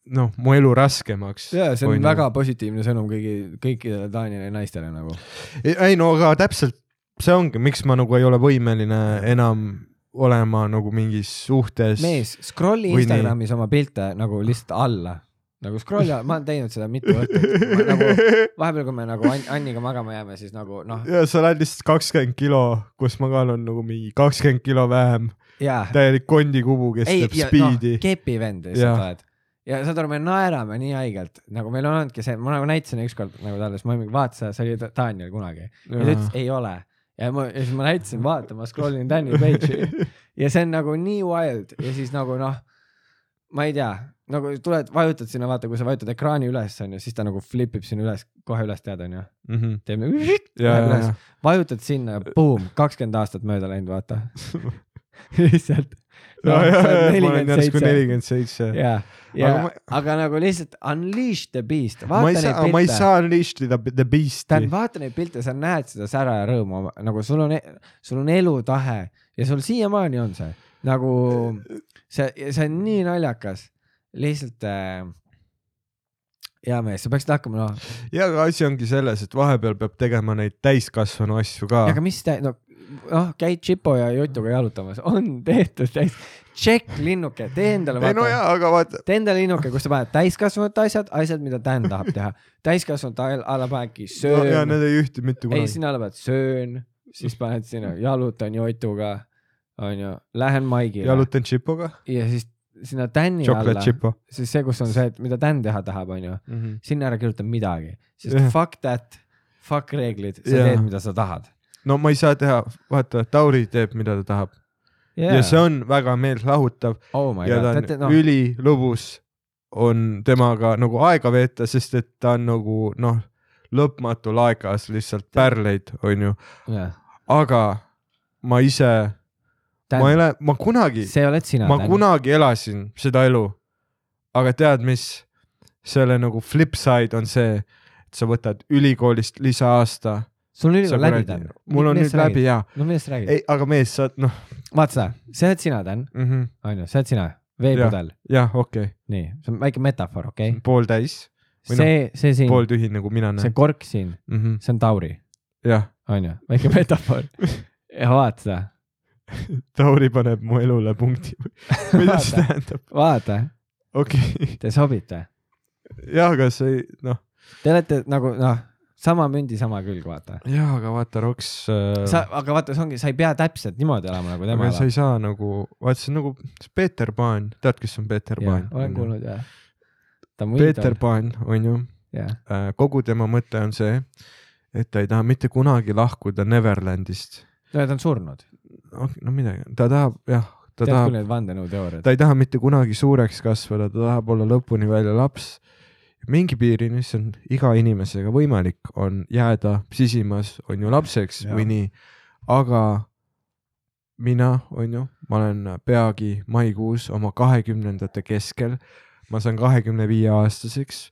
[SPEAKER 1] noh , mu elu raskemaks . nagu
[SPEAKER 2] ja see on väga . positiivne sõnum kõigi , kõikidele Taanile naistele nagu .
[SPEAKER 1] ei no aga täpselt see ongi , miks ma nagu ei ole võimeline enam olema nagu mingis suhtes .
[SPEAKER 2] mees , scroll'i
[SPEAKER 1] Või nii.
[SPEAKER 2] Instagramis oma pilte nagu lihtsalt alla , nagu scroll'i , ma olen teinud seda mitu õhtut , nagu vahepeal , kui me nagu Ann- Anniga magama jääme , siis nagu noh ,
[SPEAKER 1] ja sa oled lihtsalt kakskümmend kilo , kus ma kaalun nagu mingi kakskümmend kilo vähem ,
[SPEAKER 2] jaa .
[SPEAKER 1] täielik kondikubu , kes
[SPEAKER 2] ei noh,
[SPEAKER 1] teeb , spiidi no, .
[SPEAKER 2] kepi vend
[SPEAKER 1] Jah.
[SPEAKER 2] lihtsalt oled . ja saad aru , me naerame nii haigelt , nagu meil on olnudki see , ma nagu näitasin ükskord nagu talle , siis ma mingi vaatasin , see oli Ta- Taaniel kunagi . ja ta ütles , ei ole . ja ma , ja siis ma näitasin , vaata , ma scroll in Taani page'i ja see on nagu nii wild ja siis nagu noh , ma ei tea , nagu tuled , vajutad sinna , vaata , kui sa vajutad ekraani üles , onju , siis ta nagu flip ib sinna üles , kohe üles tead , onju .
[SPEAKER 1] ütles .
[SPEAKER 2] teeb nagu ,
[SPEAKER 1] ja ,
[SPEAKER 2] läheb
[SPEAKER 1] ja ,
[SPEAKER 2] üles , vajutad sinna , boom , kakskümmend aastat mööda läinud , vaata . lihtsalt .
[SPEAKER 1] ja , ja , ja ma olen järsku nelikümmend seitse .
[SPEAKER 2] ja ,
[SPEAKER 1] Aga
[SPEAKER 2] ja aga,
[SPEAKER 1] ma-
[SPEAKER 2] aga nagu lihtsalt unleash the beast ,
[SPEAKER 1] ma ei
[SPEAKER 2] vaata
[SPEAKER 1] saa , ma ei
[SPEAKER 2] neid pilte ,
[SPEAKER 1] saa unleash ida the beast'i
[SPEAKER 2] tähendab , vaata neid pilte , sa näed seda sära ja rõõmu oma , nagu sul on , sul on elutahe ja sul siiamaani on see nagu see , see on nii naljakas , lihtsalt äh, . hea mees , sa peaksid hakkama noh ,
[SPEAKER 1] ja aga asi ongi selles , et vahepeal peab tegema neid täiskasvanu asju ka .
[SPEAKER 2] aga mis tä- , noh , noh käid Chipo ja Jutuga jalutamas , on tehtud täis , tšekk linnuke , tee endale .
[SPEAKER 1] ei no ja , aga vaata ,
[SPEAKER 2] tee endale linnuke , kus sa paned täiskasvanute asjad , asjad , mida Dan tahab teha . täiskasvanute all- alla panedki
[SPEAKER 1] no, ja
[SPEAKER 2] söön no, ,
[SPEAKER 1] need ei ühti mitte
[SPEAKER 2] ei
[SPEAKER 1] kunagi .
[SPEAKER 2] sinna alla paned söön , siis paned sinna jalutan jotuga , onju , lähen maigile Jalut
[SPEAKER 1] jalutan Chipoga ,
[SPEAKER 2] ja siis sinna Dani alla Mhm.
[SPEAKER 1] chocolate , Chipo .
[SPEAKER 2] siis see , kus on see , et mida Dan teha tahab , onju , sinna ära kirjuta midagi , sest
[SPEAKER 1] Jah.
[SPEAKER 2] yeah. fuck that , fuck reeglid , sa
[SPEAKER 1] Jah.
[SPEAKER 2] yeah. teed , mida sa tahad
[SPEAKER 1] no ma ei saa teha , vaata , Tauri teeb , mida ta tahab
[SPEAKER 2] yeah.
[SPEAKER 1] ja see on väga meeltlahutav
[SPEAKER 2] oh my
[SPEAKER 1] ja
[SPEAKER 2] god ,
[SPEAKER 1] ta
[SPEAKER 2] teate
[SPEAKER 1] on
[SPEAKER 2] noh ,
[SPEAKER 1] ülilõbus , on temaga nagu aega veeta , sest et ta on nagu noh , lõpmatu laegas lihtsalt pärleid , onju , aga ma ise , ma ei ole , ma kunagi ,
[SPEAKER 2] see oled sina ,
[SPEAKER 1] ma kunagi elasin seda elu . aga tead , mis selle nagu flip side on see , et sa võtad ülikoolist lisaaasta .
[SPEAKER 2] sul on ülikool läbi , Dan .
[SPEAKER 1] mul on nüüd läbi . ja ,
[SPEAKER 2] no millest sa räägid ?
[SPEAKER 1] ei , aga mees , sa noh
[SPEAKER 2] vaata seda , see oled sina , Dan ,
[SPEAKER 1] mm -hmm. ,
[SPEAKER 2] onju , see oled sina , veepudel ,
[SPEAKER 1] jah , okei
[SPEAKER 2] nii , see on väike metafoor , okei
[SPEAKER 1] okay. , pooltäis , või noh,
[SPEAKER 2] see , see siin ,
[SPEAKER 1] pooltühi nagu mina
[SPEAKER 2] see
[SPEAKER 1] näen ,
[SPEAKER 2] kork siin , see on tauri ,
[SPEAKER 1] jah
[SPEAKER 2] onju , väike metafoor . ja vaata seda ,
[SPEAKER 1] Tauri paneb mu elule punkti . mida see
[SPEAKER 2] Vaata.
[SPEAKER 1] tähendab ?
[SPEAKER 2] vaata ,
[SPEAKER 1] okei okay. ,
[SPEAKER 2] te sobite ,
[SPEAKER 1] jah , aga see ei , noh ,
[SPEAKER 2] te olete nagu noh , sama mündi sama külg , vaata .
[SPEAKER 1] jah , aga vaata , Roks äh, .
[SPEAKER 2] sa , aga vaata , see ongi , sa ei pea täpselt niimoodi elama nagu tema
[SPEAKER 1] aga sa
[SPEAKER 2] elab .
[SPEAKER 1] ei saa nagu , vaata , see on nagu see Peeter Pan , tead , kes on Peeter Pan ?
[SPEAKER 2] olen kuulnud jah . ta on mu
[SPEAKER 1] Peeter
[SPEAKER 2] idol ,
[SPEAKER 1] Pan , onju ,
[SPEAKER 2] jah .
[SPEAKER 1] kogu tema mõte on see , et ta ei taha mitte kunagi lahkuda Neverlandist .
[SPEAKER 2] no ja ta on surnud ,
[SPEAKER 1] no midagi , ta tahab , jah , ta
[SPEAKER 2] tead küll
[SPEAKER 1] tahab ,
[SPEAKER 2] neid vandenõuteooriaid .
[SPEAKER 1] ta ei taha mitte kunagi suureks kasvada , ta tahab olla lõpuni välja laps mingi piirini , see on iga inimesega võimalik , on jääda sisimas , on ju lapseks ja.
[SPEAKER 2] Jaa.
[SPEAKER 1] või nii . aga mina , on ju , ma olen peagi maikuus oma kahekümnendate keskel , ma saan kahekümne viie aastaseks ,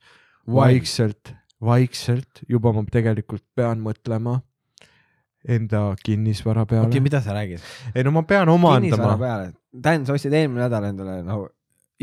[SPEAKER 1] vaikselt , vaikselt juba ma tegelikult pean mõtlema enda kinnisvara peale
[SPEAKER 2] okei ,
[SPEAKER 1] okay, .
[SPEAKER 2] mida sa räägid ?
[SPEAKER 1] ei no ma pean
[SPEAKER 2] kinnisvara
[SPEAKER 1] omandama .
[SPEAKER 2] peale , Dan , sa ostsid eelmine nädal endale nagu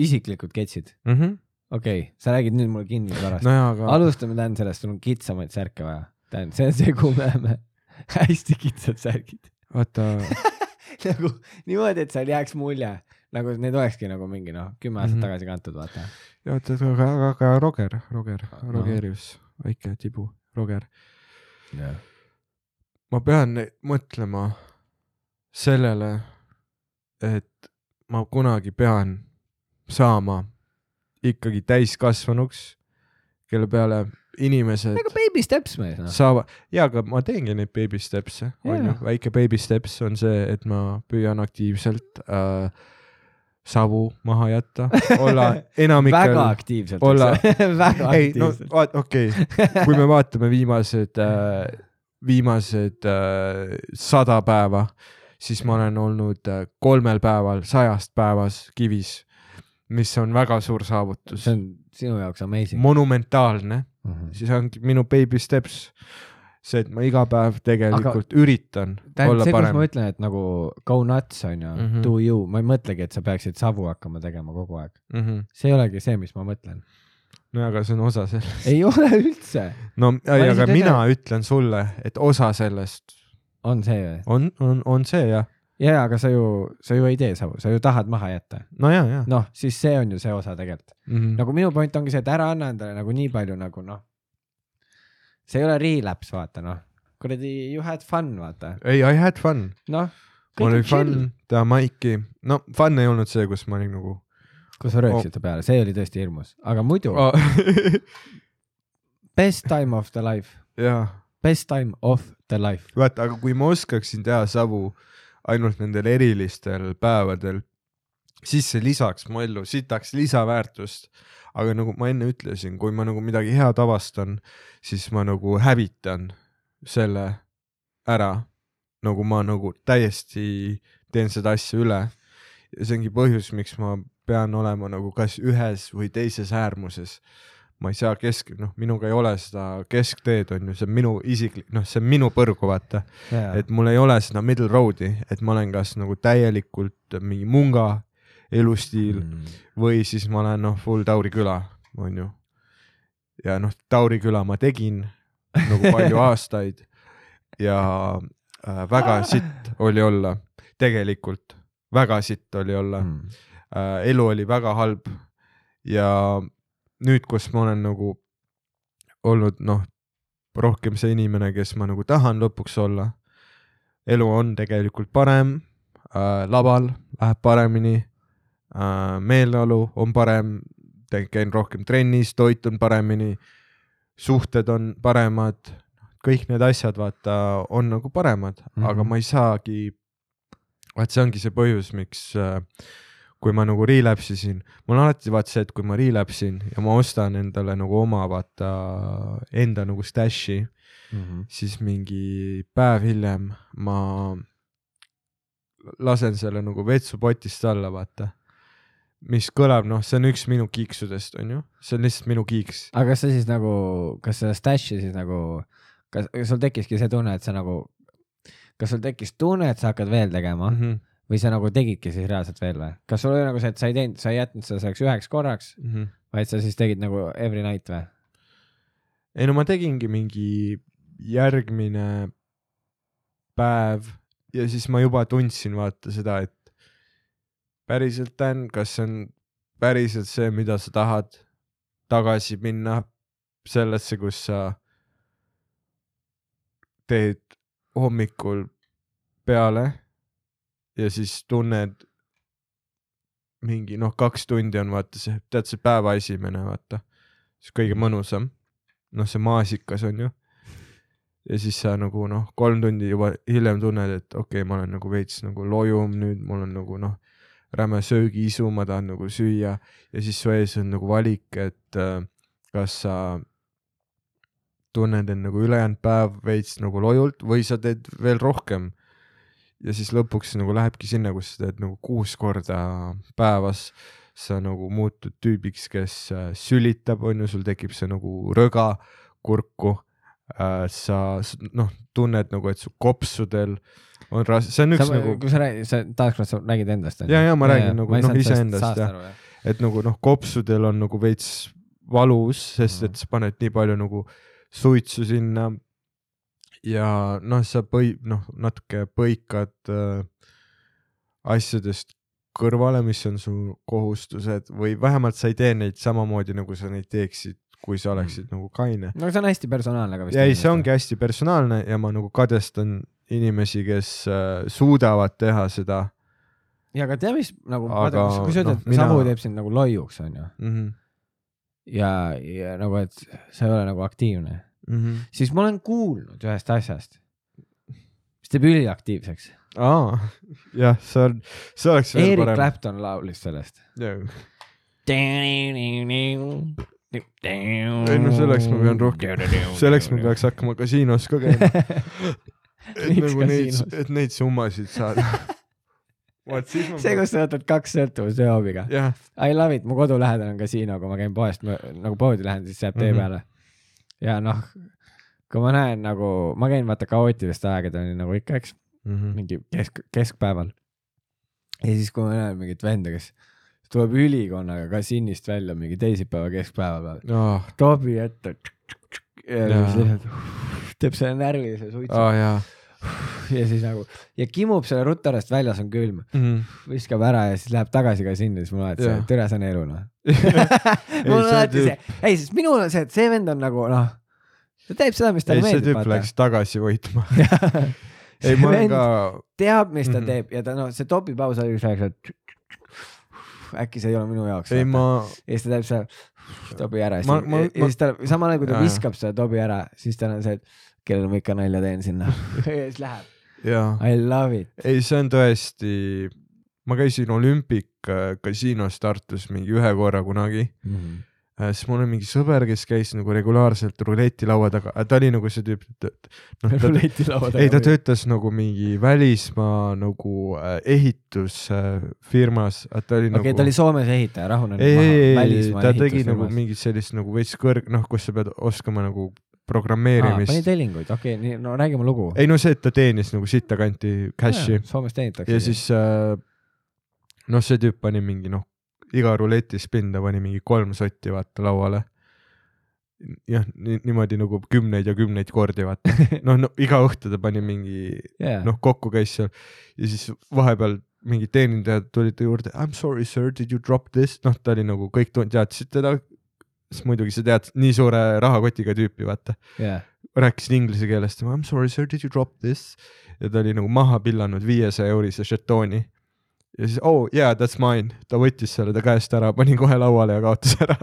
[SPEAKER 2] isiklikud ketsid ,
[SPEAKER 1] Mm -hmm.
[SPEAKER 2] okei okay, , sa räägid nüüd mulle kinnisvarast no, .
[SPEAKER 1] nojah , aga
[SPEAKER 2] alustame Dan sellest , sul on kitsamaid särke vaja . Dan , see on see , kuhu me läheme . hästi kitsad särgid .
[SPEAKER 1] vaata
[SPEAKER 2] nagu niimoodi , et seal jääks mulje , nagu need olekski nagu mingi noh , kümme aastat
[SPEAKER 1] Mhm.
[SPEAKER 2] mm -hmm. tagasi kantud , vaata .
[SPEAKER 1] ja oot , oot , aga , aga , aga Roger , Roger ,
[SPEAKER 2] No.
[SPEAKER 1] Rogerius , väike tibu , Roger . ma pean ne- mõtlema sellele , et ma kunagi pean saama ikkagi täiskasvanuks , kelle peale inimesed
[SPEAKER 2] nagu baby steps mees noh .
[SPEAKER 1] saavad , jaa , aga ma teengi neid baby steps'e , on ju
[SPEAKER 2] Jaa. ,
[SPEAKER 1] väike baby steps on see , et ma püüan aktiivselt äh, savu maha jätta , olla enamikel
[SPEAKER 2] väga . aktiivselt .
[SPEAKER 1] olla-
[SPEAKER 2] väga
[SPEAKER 1] ei , no
[SPEAKER 2] aktiivselt .
[SPEAKER 1] vaat- , okei okay. , kui me vaatame viimased äh, , viimased äh, sada päeva , siis ma olen olnud äh, kolmel päeval sajast päevas kivis , mis on väga suur saavutus
[SPEAKER 2] see , on sinu jaoks amazing . Mhm.
[SPEAKER 1] monumentaalne , siis ongi minu baby steps see , et ma iga päev tegelikult Aga... üritan
[SPEAKER 2] tähendab
[SPEAKER 1] olla
[SPEAKER 2] see , kus
[SPEAKER 1] parem
[SPEAKER 2] ma . ütlen , et nagu go nuts on ju
[SPEAKER 1] Mhm. ,
[SPEAKER 2] do you , ma ei mõtlegi , et sa peaksid savu hakkama tegema kogu aeg .
[SPEAKER 1] Mm -hmm.
[SPEAKER 2] see ei olegi see , mis ma mõtlen .
[SPEAKER 1] no aga see on osa sellest .
[SPEAKER 2] ei ole üldse .
[SPEAKER 1] no ei, aga
[SPEAKER 2] lihtsalt
[SPEAKER 1] mina ütlen sulle , et osa sellest
[SPEAKER 2] on see või ?
[SPEAKER 1] on , on , on see jah .
[SPEAKER 2] jaa , aga sa ju , sa ju ei tee savu , sa ju tahad maha jätta .
[SPEAKER 1] no ja , ja no. .
[SPEAKER 2] noh , siis see on ju see osa tegelikult .
[SPEAKER 1] Mm -hmm.
[SPEAKER 2] nagu minu point ongi see , et ära anna endale nagu nii palju nagu noh . see ei ole relapse , vaata noh . kuradi you had fun , vaata .
[SPEAKER 1] ei , I had fun .
[SPEAKER 2] noh .
[SPEAKER 1] mul oli fun . teha maiki . no fun ei olnud see , kus ma olin nagu
[SPEAKER 2] kui sa rööksid ta peale , see oli tõesti hirmus , aga muidu oh.
[SPEAKER 1] oh. .
[SPEAKER 2] best time of the life ,
[SPEAKER 1] jaa ,
[SPEAKER 2] best time of the life .
[SPEAKER 1] vaata , aga kui ma oskaksin teha savu ainult nendel erilistel päevadel , siis see lisaks mu ellu sitaks lisaväärtust . aga nagu ma enne ütlesin , kui ma nagu midagi head avastan , siis ma nagu hävitan selle ära . nagu ma nagu täiesti teen seda asja üle . ja see ongi põhjus , miks ma pean olema nagu kas ühes või teises äärmuses . ma ei saa kesk , noh , minuga ei ole seda keskteed , on ju , see on minu isiklik , noh , see on minu põrgu , vaata . et mul ei ole seda middle road'i , et ma olen kas nagu täielikult mingi munga elustiil mm.
[SPEAKER 2] Mhm.
[SPEAKER 1] või siis ma olen noh , full Tauri küla , on ju . ja noh , Tauri küla ma tegin nagu palju aastaid ja äh, väga sitt oli olla , tegelikult väga sitt oli olla mm. . äh, elu oli väga halb ja nüüd , kus ma olen nagu olnud noh , rohkem see inimene , kes ma nagu tahan lõpuks olla , elu on tegelikult parem äh, , laval läheb paremini äh, , meeleolu on parem , käin rohkem trennis , toit on paremini , suhted on paremad , kõik need asjad , vaata , on nagu paremad mm , -hmm. aga
[SPEAKER 2] Mhm.
[SPEAKER 1] ma ei saagi , vaat see ongi see põhjus , miks äh, kui ma nagu relapse isin , mul on alati vaat see , et kui ma relapse in ja ma ostan endale nagu oma vaata enda nagu stash'i ,
[SPEAKER 2] Mm-hmm.
[SPEAKER 1] siis mingi päev hiljem ma lasen selle nagu vetsupotist alla , vaata . mis kõlab , noh , see on üks minu kiiksudest , on ju , see on lihtsalt minu kiiks .
[SPEAKER 2] aga kas sa siis nagu , kas sa stash'i siis nagu , kas kas sul tekkiski see tunne , et sa nagu , kas sul tekkis tunne , et sa hakkad veel tegema
[SPEAKER 1] Mhm.
[SPEAKER 2] mm -hmm. või sa nagu tegidki siis reaalselt veel või ? kas sul oli nagu see , et sa ei teinud , sa ei jätnud seda selleks üheks korraks ,
[SPEAKER 1] mhm.
[SPEAKER 2] vaid sa siis tegid nagu every night või ?
[SPEAKER 1] ei no ma tegingi mingi järgmine päev ja siis ma juba tundsin vaata seda , et päriselt Dan , kas see on päriselt see , mida sa tahad , tagasi minna sellesse , kus sa teed hommikul peale ja siis tunned mingi noh , kaks tundi on vaata see , tead see päeva esimene vaata , see kõige mõnusam noh , see maasikas on ju . ja siis sa nagu noh , kolm tundi juba hiljem tunned , et okei okay, , ma olen nagu veits nagu lojum nüüd , mul on nagu noh , räme söögiisu , ma tahan nagu süüa ja siis su ees on nagu valik , et äh, kas sa tunned end nagu ülejäänud päev veits nagu lojult või sa teed veel rohkem . ja siis lõpuks nagu lähebki sinna , kus sa teed nagu kuus korda päevas sa nagu muutud tüübiks , kes äh, sülitab , on ju , sul tekib see nagu rõga kurku . sa s- noh , tunned nagu , et su kopsudel on ras- , see on üks
[SPEAKER 2] sa,
[SPEAKER 1] sa, nagu ,
[SPEAKER 2] kui sa räägid , sa taaskord sa räägid endast .
[SPEAKER 1] Jaa, jaa, ma räägin nagu, noh, iseendast, jah. et nagu noh , kopsudel on nagu veits valus , sest et sa paned nii palju nagu suitsu sinna . ja noh , sa põi- , noh , natuke põikad äh, asjadest kõrvale , mis on su kohustused või vähemalt sa ei tee neid samamoodi , nagu sa neid teeksid , kui sa oleksid nagu kaine .
[SPEAKER 2] no see on hästi personaalne ka vist .
[SPEAKER 1] ja ei , see ongi . hästi personaalne ja ma nagu kadestan inimesi , kes äh, suudavad teha seda
[SPEAKER 2] ja aga tea , mis nagu ,
[SPEAKER 1] Aga,
[SPEAKER 2] kui sa ütled
[SPEAKER 1] noh, , mina-
[SPEAKER 2] Samu teeb sind nagu loiuks , onju ,
[SPEAKER 1] mm . -hmm.
[SPEAKER 2] ja , ja nagu , et sa ei ole nagu aktiivne ,
[SPEAKER 1] Mm -hmm.
[SPEAKER 2] siis ma olen kuulnud ühest asjast , mis teeb üliaktiivseks .
[SPEAKER 1] aa , jah , see on , see oleks veel
[SPEAKER 2] Erik
[SPEAKER 1] parem .
[SPEAKER 2] Clapton laulis sellest .
[SPEAKER 1] ei
[SPEAKER 2] ei
[SPEAKER 1] no selleks ma pean rohkem , selleks ma peaks hakkama kasiinos ka käima , et
[SPEAKER 2] Miks
[SPEAKER 1] nagu neid
[SPEAKER 2] kasiinos? ,
[SPEAKER 1] et neid summasid saada . vot siis ma .
[SPEAKER 2] see , kus sa võtad kaks sõltuvust ühe hoobiga .
[SPEAKER 1] jah ,
[SPEAKER 2] I love it , mu kodu lähedal on kasiino , kui ma käin poest , nagu poodi lähen , siis see jääb tee
[SPEAKER 1] Mhm.
[SPEAKER 2] peale . ja noh , kui ma näen nagu , ma käin vaata kaootiliste aegadeni nagu ikka , eks , mingi kesk , keskpäeval . ja siis , kui ma näen mingit venda , kes tuleb ülikonnaga kasiinist välja mingi teisipäeva keskpäeva peal ,
[SPEAKER 1] aa ,
[SPEAKER 2] toobi ette . ja
[SPEAKER 1] Jaa.
[SPEAKER 2] siis lihtsalt teeb selle närvilise suitsu
[SPEAKER 1] aa jaa .
[SPEAKER 2] ja siis nagu ja kimub selle rutarest väljas on külm , viskab ära ja siis läheb tagasi ka sinna , siis ma olen , et see
[SPEAKER 1] Jaa.
[SPEAKER 2] türa , see on elu noh
[SPEAKER 1] Mhm. Ei,
[SPEAKER 2] mul on
[SPEAKER 1] see
[SPEAKER 2] alati see
[SPEAKER 1] tüüp- ,
[SPEAKER 2] ei sest minul on see , et see vend on nagu noh , ta teeb seda , mis
[SPEAKER 1] ei
[SPEAKER 2] talle ,
[SPEAKER 1] see
[SPEAKER 2] meeldib ,
[SPEAKER 1] tüüp läks tagasi võitma .
[SPEAKER 2] vaata .
[SPEAKER 1] ei , ma olen ka ,
[SPEAKER 2] teab , mis ta
[SPEAKER 1] Mhm.
[SPEAKER 2] teeb ja ta noh , see topipaus oli üks aeg , et äkki see ei ole minu jaoks .
[SPEAKER 1] ei ma ,
[SPEAKER 2] ja siis ta teeb selle tobi ära
[SPEAKER 1] Ma-
[SPEAKER 2] ma,
[SPEAKER 1] ma-
[SPEAKER 2] ma, ja siis ta samal ajal kui ta
[SPEAKER 1] Jaa, jaa.
[SPEAKER 2] viskab selle tobi ära , siis tal on see , et kellele ma ikka nalja teen sinna ja siis läheb .
[SPEAKER 1] jaa .
[SPEAKER 2] I love it .
[SPEAKER 1] ei , see on tõesti , ma käisin olümpik äh, kasiinos Tartus mingi ühe korra kunagi , Äh, siis mul oli mingi sõber , kes käis nagu regulaarselt ruletilaua taga , ta oli nagu see tüüp , et , et noh , ta
[SPEAKER 2] ruleti laua taga .
[SPEAKER 1] ei , ta . töötas nagu mingi välismaa nagu äh, ehitusfirmas , ta oli
[SPEAKER 2] okei okay, ,
[SPEAKER 1] nagu
[SPEAKER 2] ta oli Soomes ehitaja , rahune
[SPEAKER 1] ei , ei , ei , ei ,
[SPEAKER 2] välismaa
[SPEAKER 1] ta tegi nagu
[SPEAKER 2] ehitusfirmas.
[SPEAKER 1] mingit sellist nagu veits kõrg- , noh , kus sa pead oskama nagu
[SPEAKER 2] aa , pani
[SPEAKER 1] programmeerimist .
[SPEAKER 2] telinguid , okei okay, , nii , no räägi mu lugu .
[SPEAKER 1] ei no see , et ta teenis nagu sittakanti cash'i
[SPEAKER 2] Soomes teenitakse .
[SPEAKER 1] ja siis äh, noh , see tüüp pani mingi noh , iga ruletis pinda pani mingi kolm sotti vaata lauale . jah , niimoodi nagu kümneid ja kümneid kordi vaata , noh no, , iga õhtu ta pani mingi
[SPEAKER 2] yeah.
[SPEAKER 1] noh , kokku käis seal ja siis vahepeal mingid teenindajad tulid ta juurde , I m sorry sir , did you drop this , noh , ta oli nagu kõik tund- teadsid teda sest muidugi sa tead nii suure rahakotiga tüüpi , vaata ,
[SPEAKER 2] yeah.
[SPEAKER 1] rääkisin inglise keeles , I m sorry sir , did you drop this ? ja ta oli nagu maha pillanud viiesaja eurise žetooni . ja siis oh yeah , that's mine , ta võttis selle ta käest ära , pani kohe lauale ja kaotas ära .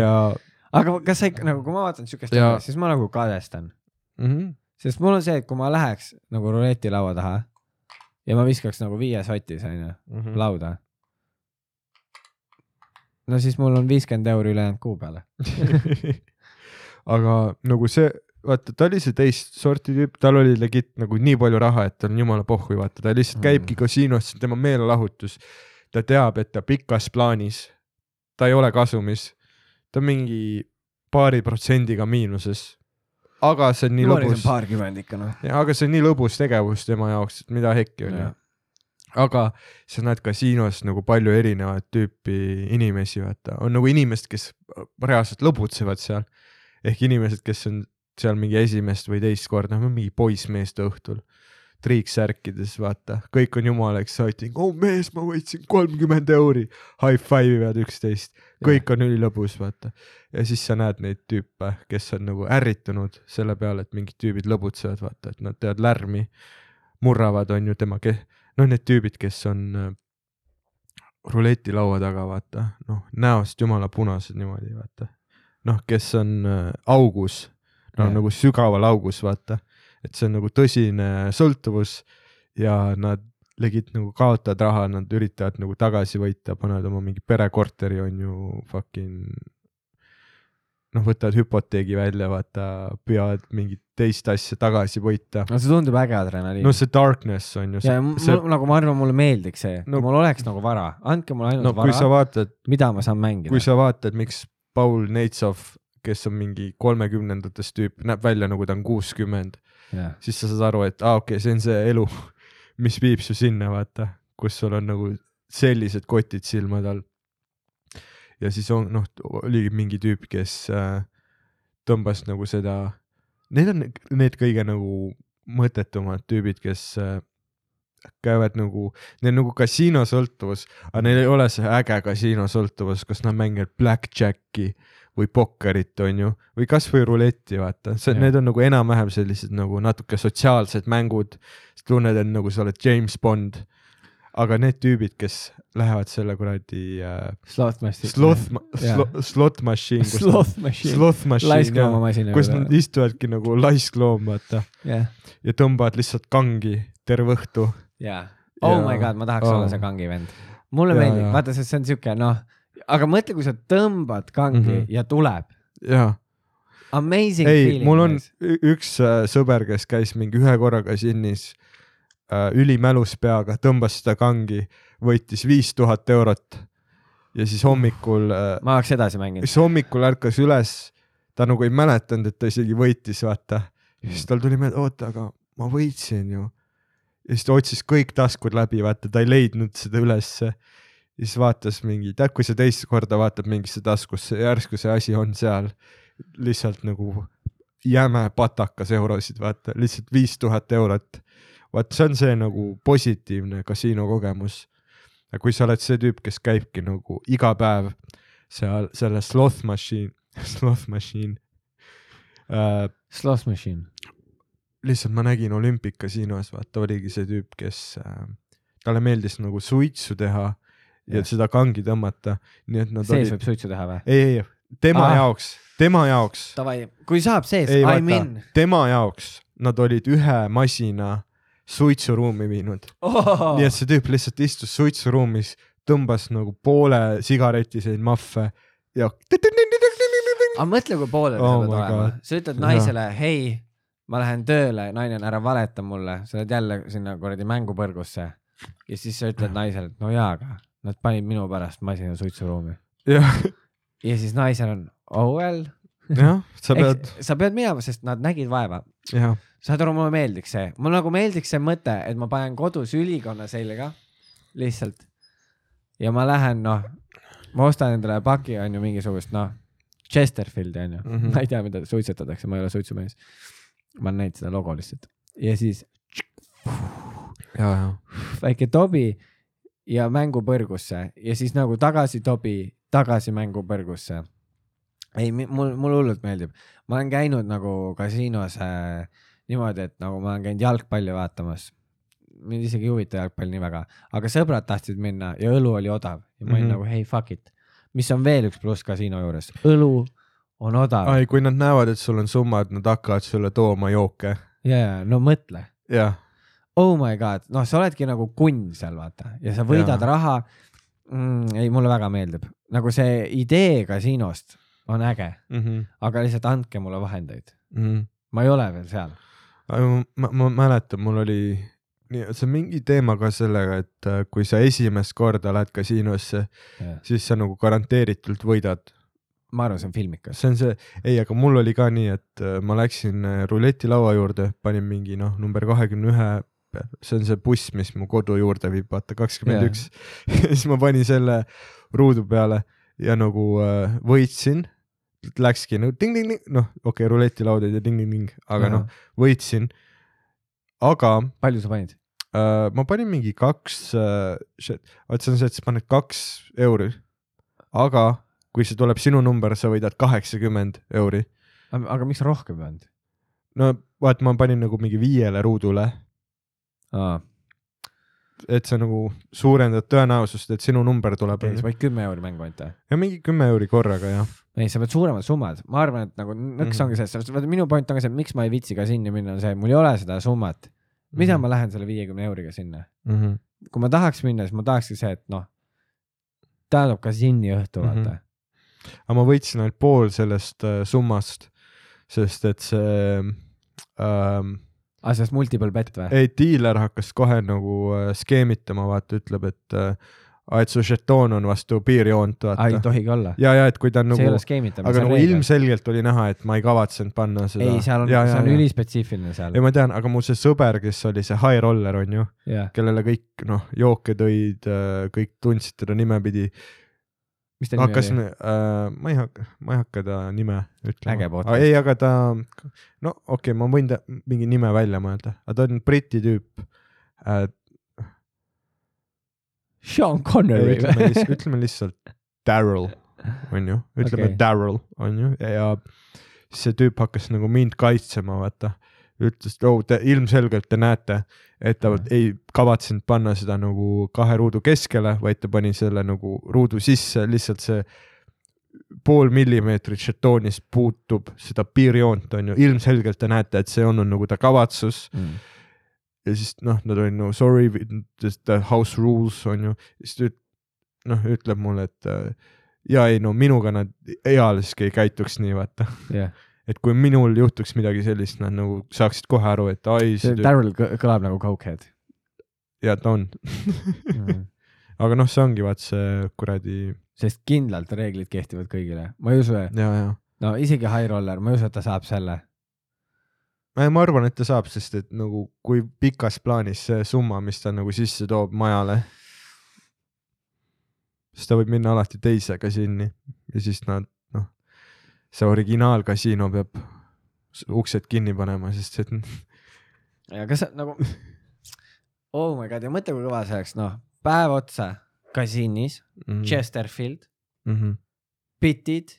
[SPEAKER 1] ja
[SPEAKER 2] aga kas sa ikka nagu , kui ma vaatan siukest
[SPEAKER 1] Jaa.
[SPEAKER 2] asja , siis ma nagu kadestan ,
[SPEAKER 1] mm , -hmm.
[SPEAKER 2] sest mul on see , et kui ma läheks nagu ruletilaua taha ja ma viskaks nagu viies otis onju
[SPEAKER 1] Mm -hmm.
[SPEAKER 2] lauda . no siis mul on viiskümmend euri ülejäänud kuu peale .
[SPEAKER 1] aga nagu see , vaata , ta oli see teist sorti tüüp , tal oli legit nagu nii palju raha , et tal on jumala pohhui , vaata , ta lihtsalt käibki
[SPEAKER 2] Mm.
[SPEAKER 1] kasiinos , see on tema meelelahutus . ta teab , et ta pikas plaanis , ta ei ole kasumis , ta on mingi paari protsendiga miinuses . aga see on nii lõbus ,
[SPEAKER 2] paarkümmend ikka noh .
[SPEAKER 1] aga see on nii lõbus tegevus tema jaoks , et mida hekki onju . aga sa näed kasiinos nagu palju erinevat tüüpi inimesi , vaata , on nagu inimesed , kes reaalselt lõbutsevad seal ehk inimesed , kes on seal mingi esimest või teist korda , no mingi poissmeeste õhtul triiksärkides , vaata , kõik on jumala exciting , oo mees , ma võitsin kolmkümmend euri , high five ivad üksteist , kõik on ülilõbus , vaata . ja siis sa näed neid tüüpe , kes on nagu ärritunud selle peale , et mingid tüübid lõbutsevad , vaata , et nad teevad lärmi , murravad , on ju tema ke- , noh , need tüübid , kes on äh, ruletilaua taga , vaata , noh , näost jumala punased niimoodi , vaata . noh , kes on äh, augus , no
[SPEAKER 2] Jah.
[SPEAKER 1] nagu sügaval augus , vaata , et see on nagu tõsine sõltuvus ja nad legit nagu kaotavad raha , nad üritavad nagu tagasi võita , panevad oma mingi perekorteri on ju fucking . noh , võtavad hüpoteegi välja , vaata , püüavad mingit teist asja tagasi võita .
[SPEAKER 2] no see tundub äge adrenaliin
[SPEAKER 1] no . see darkness on ju
[SPEAKER 2] ja
[SPEAKER 1] see ,
[SPEAKER 2] mul
[SPEAKER 1] see ,
[SPEAKER 2] nagu ma arvan , mulle meeldiks see
[SPEAKER 1] No-
[SPEAKER 2] no, , mul oleks nagu vara , andke mulle ainult
[SPEAKER 1] no
[SPEAKER 2] no,
[SPEAKER 1] kui sa
[SPEAKER 2] vara ,
[SPEAKER 1] vaatad ,
[SPEAKER 2] mida ma saan mängida .
[SPEAKER 1] kui sa vaatad , miks Paul Neitsov , kes on mingi kolmekümnendates tüüp , näeb välja nagu ta on kuuskümmend ,
[SPEAKER 2] Jah.
[SPEAKER 1] siis sa saad aru , et aa ah, , okei okay, , see on see elu , mis viib su sinna , vaata , kus sul on nagu sellised kotid silmade all . ja siis on noh , oli mingi tüüp , kes äh, tõmbas nagu seda , need on need kõige nagu mõttetumad tüübid , kes äh, käivad nagu , neil on nagu kasiinosõltuvus , aga neil ei ole see äge kasiinosõltuvus , kus nad mängivad blackjack'i või pokkerit , onju , või kasvõi ruletti , vaata , see ,
[SPEAKER 2] Jah.
[SPEAKER 1] need on nagu enam-vähem sellised nagu natuke sotsiaalsed mängud . sa tunned end nagu sa oled James Bond . aga need tüübid , kes lähevad selle kuradi äh,
[SPEAKER 2] Sloth Machine .
[SPEAKER 1] sloth ,
[SPEAKER 2] Jah.
[SPEAKER 1] slot machine , kus ,
[SPEAKER 2] Sloth Machine .
[SPEAKER 1] sloth machine ,
[SPEAKER 2] laiskloomamasina .
[SPEAKER 1] kus nad istuvadki nagu laiskloom , vaata
[SPEAKER 2] jah ,
[SPEAKER 1] ja tõmbavad lihtsalt kangi terve õhtu .
[SPEAKER 2] jaa . Oh
[SPEAKER 1] Jaa.
[SPEAKER 2] my god , ma tahaks
[SPEAKER 1] Oh.
[SPEAKER 2] olla see kangi vend . mulle
[SPEAKER 1] Jaa,
[SPEAKER 2] meeldib
[SPEAKER 1] jaa. ,
[SPEAKER 2] vaata , sest see on siuke noh , aga mõtle , kui sa tõmbad kangi mm
[SPEAKER 1] Mhm.
[SPEAKER 2] -hmm. ja tuleb .
[SPEAKER 1] jaa ,
[SPEAKER 2] Amazing
[SPEAKER 1] ei ,
[SPEAKER 2] feeling .
[SPEAKER 1] mul on . ü- üks äh, sõber , kes käis mingi ühe korraga džinnis äh, ülimälus peaga , tõmbas seda kangi , võitis viis tuhat eurot ja siis hommikul äh,
[SPEAKER 2] ma oleks edasi mänginud .
[SPEAKER 1] siis hommikul ärkas üles , ta nagu ei mäletanud , et ta isegi võitis , vaata . ja siis tal tuli meelde , oota , aga ma võitsin ju . ja siis ta otsis kõik taskud läbi , vaata , ta ei leidnud seda ülesse . ja siis vaatas mingi , tead , kui sa teist korda vaatad mingisse taskusse , järsku see asi on seal lihtsalt nagu jäme patakas eurosid , vaata , lihtsalt viis tuhat eurot . vaat see on see nagu positiivne kasiinokogemus . aga kui sa oled see tüüp , kes käibki nagu iga päev seal selle sloth machine , sloth machine uh, .
[SPEAKER 2] Sloth machine .
[SPEAKER 1] lihtsalt ma nägin olümpikasiinos , vaata oligi see tüüp , kes uh, , talle meeldis nagu suitsu teha ja
[SPEAKER 2] Jah.
[SPEAKER 1] seda kangi tõmmata , nii et nad
[SPEAKER 2] sees
[SPEAKER 1] olid ,
[SPEAKER 2] võib suitsu teha või ?
[SPEAKER 1] ei , ei , ei , tema
[SPEAKER 2] Ah.
[SPEAKER 1] ah. jaoks , tema jaoks ,
[SPEAKER 2] Davai , kui saab sees ,
[SPEAKER 1] Ei,
[SPEAKER 2] I
[SPEAKER 1] vaata.
[SPEAKER 2] m in .
[SPEAKER 1] tema jaoks nad olid ühe masina suitsuruumi viinud
[SPEAKER 2] Ah.
[SPEAKER 1] oh. , nii et see tüüp lihtsalt istus suitsuruumis , tõmbas nagu poole sigaretiseid mahve ja .
[SPEAKER 2] aga mõtle , kui pooled
[SPEAKER 1] Oh
[SPEAKER 2] sa pead
[SPEAKER 1] my
[SPEAKER 2] olema
[SPEAKER 1] God. ,
[SPEAKER 2] sa ütled naisele , hei , ma lähen tööle , naine , ära valeta mulle , sa lähed jälle sinna kuradi mängupõrgusse . ja siis sa ütled naisele , et no jaa , aga nad panid minu pärast masina suitsuruumi .
[SPEAKER 1] jah ,
[SPEAKER 2] ja siis naisel on , oh well ,
[SPEAKER 1] jah , sa pead ,
[SPEAKER 2] sa pead minema , sest nad nägid vaeva .
[SPEAKER 1] jah
[SPEAKER 2] saad aru , mulle meeldiks see , mul nagu meeldiks see mõte , et ma panen kodus ülikonna selga lihtsalt ja ma lähen , noh , ma ostan endale paki , on ju , mingisugust , noh , Chesterfieldi , on ju mm ,
[SPEAKER 1] Mhm.
[SPEAKER 2] -hmm. ma ei tea , mida suitsetatakse , ma ei ole suitsumees . ma olen näinud seda logo lihtsalt ja siis
[SPEAKER 1] ja , ja ,
[SPEAKER 2] väike tobi ja mängupõrgusse ja siis nagu tagasi tobi , tagasi mängupõrgusse . ei , mul , mulle hullult meeldib , ma olen käinud nagu kasiinos äh, niimoodi , et nagu ma olen käinud jalgpalli vaatamas . mind isegi ei huvita jalgpall nii väga , aga sõbrad tahtsid minna ja õlu oli odav ja ma olin mm
[SPEAKER 1] Mhm.
[SPEAKER 2] -hmm. nagu hei , fuck it . mis on veel üks pluss kasiino juures , õlu on odav
[SPEAKER 1] ai , kui nad näevad , et sul on summad , nad hakkavad sulle tooma jooke .
[SPEAKER 2] ja , ja no mõtle
[SPEAKER 1] jah ,
[SPEAKER 2] oh my god , noh , sa oledki nagu kunn seal vaata ja sa võidad ja.
[SPEAKER 1] Jaa.
[SPEAKER 2] raha mm, . ei , mulle väga meeldib , nagu see idee kasiinost on äge , aga lihtsalt andke mulle vahendeid , ma ei ole veel seal .
[SPEAKER 1] Mhm. ma , ma mäletan , mul oli , see on mingi teema ka sellega , et äh, kui sa esimest korda lähed kasiinosse , siis sa nagu garanteeritult võidad .
[SPEAKER 2] ma arvan , see on filmikas .
[SPEAKER 1] see on see , ei , aga mul oli ka nii , et äh, ma läksin äh, ruletilaua juurde , panin mingi noh , number kahekümne ühe , see on see buss , mis mu kodu juurde viib , vaata kakskümmend
[SPEAKER 2] Jaa.
[SPEAKER 1] üks . siis ma panin selle ruudu peale ja nagu äh, võitsin , läkski nagu ting-ting-ting , noh , okei okay, , ruletilaud ei tee ting-ting-ting , aga noh ,. võitsin . aga
[SPEAKER 2] palju sa panid ?
[SPEAKER 1] äh, ma panin mingi kaks äh, , vaat see on see , et sa paned kaks euri , aga kui see tuleb sinu number , sa võidad kaheksakümmend euri .
[SPEAKER 2] aga miks rohkem ei pannud
[SPEAKER 1] no vaat ma panin nagu mingi viiele ruudule ,
[SPEAKER 2] ah, ?
[SPEAKER 1] et sa nagu suurendad tõenäosust , et sinu number tuleb
[SPEAKER 2] okei , sa panid kümme euri mängu ainult või ?
[SPEAKER 1] ja mingi kümme euri korraga jah .
[SPEAKER 2] ei , sa pead suuremad summad , ma arvan , et nagu nõks
[SPEAKER 1] Mhm.
[SPEAKER 2] ongi see , vaata minu point on ka see , miks ma ei viitsi ka sinna minna , on see , mul ei ole seda summat .
[SPEAKER 1] Mhm.
[SPEAKER 2] mida ma lähen selle viiekümne euriga sinna ?
[SPEAKER 1] mm . -hmm.
[SPEAKER 2] kui ma tahaks minna , siis ma tahakski see , et noh , tähendab ka sinni õhtu vaata mm .
[SPEAKER 1] Mhm. aga ma võitsin ainult pool sellest äh, summast , sest et see ähm,
[SPEAKER 2] -hmm. aga sellest multiple bet või ?
[SPEAKER 1] ei , diiler hakkas kohe nagu äh, skeemitama , vaata , ütleb , et äh, , et su žetoon on vastu piirjoont ,
[SPEAKER 2] aa , Ah, ei
[SPEAKER 1] vaata .
[SPEAKER 2] tohigi olla .
[SPEAKER 1] ja , ja et kui ta on
[SPEAKER 2] see ei
[SPEAKER 1] nagu
[SPEAKER 2] ole , skeemitamine ,
[SPEAKER 1] aga
[SPEAKER 2] see on
[SPEAKER 1] nagu
[SPEAKER 2] reegel .
[SPEAKER 1] ilmselgelt oli näha , et ma ei kavatsenud panna seda .
[SPEAKER 2] ei , seal on , see on . ülispetsiifiline seal
[SPEAKER 1] ei , ma tean , aga mu see sõber , kes oli see high roller , on ju ,
[SPEAKER 2] jah .
[SPEAKER 1] kellele kõik noh , jooke tõid , kõik tundsid teda nimepidi ,
[SPEAKER 2] mis ta nimi
[SPEAKER 1] hakkas ,
[SPEAKER 2] oli ?
[SPEAKER 1] äh, ma ei hakka , ma ei hakka ta nime
[SPEAKER 2] Äge
[SPEAKER 1] ütlema
[SPEAKER 2] podcast. .
[SPEAKER 1] ei , aga ta , no okei okay, , ma võin ta mingi nime välja mõelda , aga ta on briti tüüp äh, .
[SPEAKER 2] Sean Connery
[SPEAKER 1] ütleme
[SPEAKER 2] või ?
[SPEAKER 1] lihtsalt , ütleme lihtsalt Daryl , onju , ütleme
[SPEAKER 2] Okei.
[SPEAKER 1] okay. Daryl , onju , ja siis see tüüp hakkas nagu mind kaitsema , vaata . ütles , et oh, te ilmselgelt te näete , et ta
[SPEAKER 2] Mhm.
[SPEAKER 1] ei kavatsenud panna seda nagu kahe ruudu keskele , vaid ta pani selle nagu ruudu sisse , lihtsalt see pool millimeetrit žetoonis
[SPEAKER 2] Mm,
[SPEAKER 1] puutub seda piirjoont , on ju , ilmselgelt te näete , et see on, on nagu ta kavatsus ja siis noh , nad olid no sorry , the house rules on ju , siis ta üt- noh , ütleb mulle , et äh, ja ei no minuga nad ealiski ei käituks nii , vaata .
[SPEAKER 2] jah .
[SPEAKER 1] et kui minul juhtuks midagi sellist , nad nagu saaksid kohe aru , et ai , see
[SPEAKER 2] see
[SPEAKER 1] tüüp
[SPEAKER 2] Daryl kõ- kõlab nagu cokehead
[SPEAKER 1] ja ta on .
[SPEAKER 2] mm. .
[SPEAKER 1] aga noh , see ongi vaat see kuradi
[SPEAKER 2] sest kindlalt reeglid kehtivad kõigile , ma ei usu ,
[SPEAKER 1] ja , ja
[SPEAKER 2] no isegi High Roller , ma ei usu , et ta saab selle .
[SPEAKER 1] ma ma arvan , et ta saab , sest et nagu kui pikas plaanis see summa , mis ta nagu sisse toob majale , siis ta võib minna alati teise kasiini ja siis nad noh , see originaalkasiino peab s- uksed kinni panema , sest et
[SPEAKER 2] ja kas sa- nagu , oh my god ja mõtle , kui kõva see oleks , noh , päev otsa kasiinis
[SPEAKER 1] mm,
[SPEAKER 2] mm. , Chesterfield ,
[SPEAKER 1] mm . -hmm,
[SPEAKER 2] bitid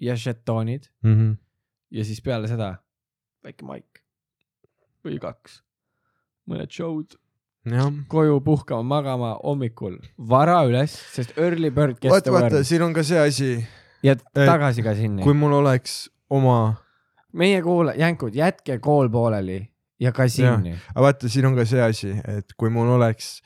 [SPEAKER 2] ja žetoonid
[SPEAKER 1] mm -hmm.
[SPEAKER 2] ja siis peale seda väike maik või kaks , mõned show'd ,
[SPEAKER 1] jah ,
[SPEAKER 2] koju puhkama , magama hommikul vara üles , sest early bird
[SPEAKER 1] vaata ,
[SPEAKER 2] kestab
[SPEAKER 1] vaata , siin on ka see asi ,
[SPEAKER 2] ja tagasi ka sinna .
[SPEAKER 1] kui mul oleks oma ,
[SPEAKER 2] meie kuula- , jänkud , jätke kool pooleli ja kasiini .
[SPEAKER 1] aga vaata , siin on ka see asi , et kui mul oleks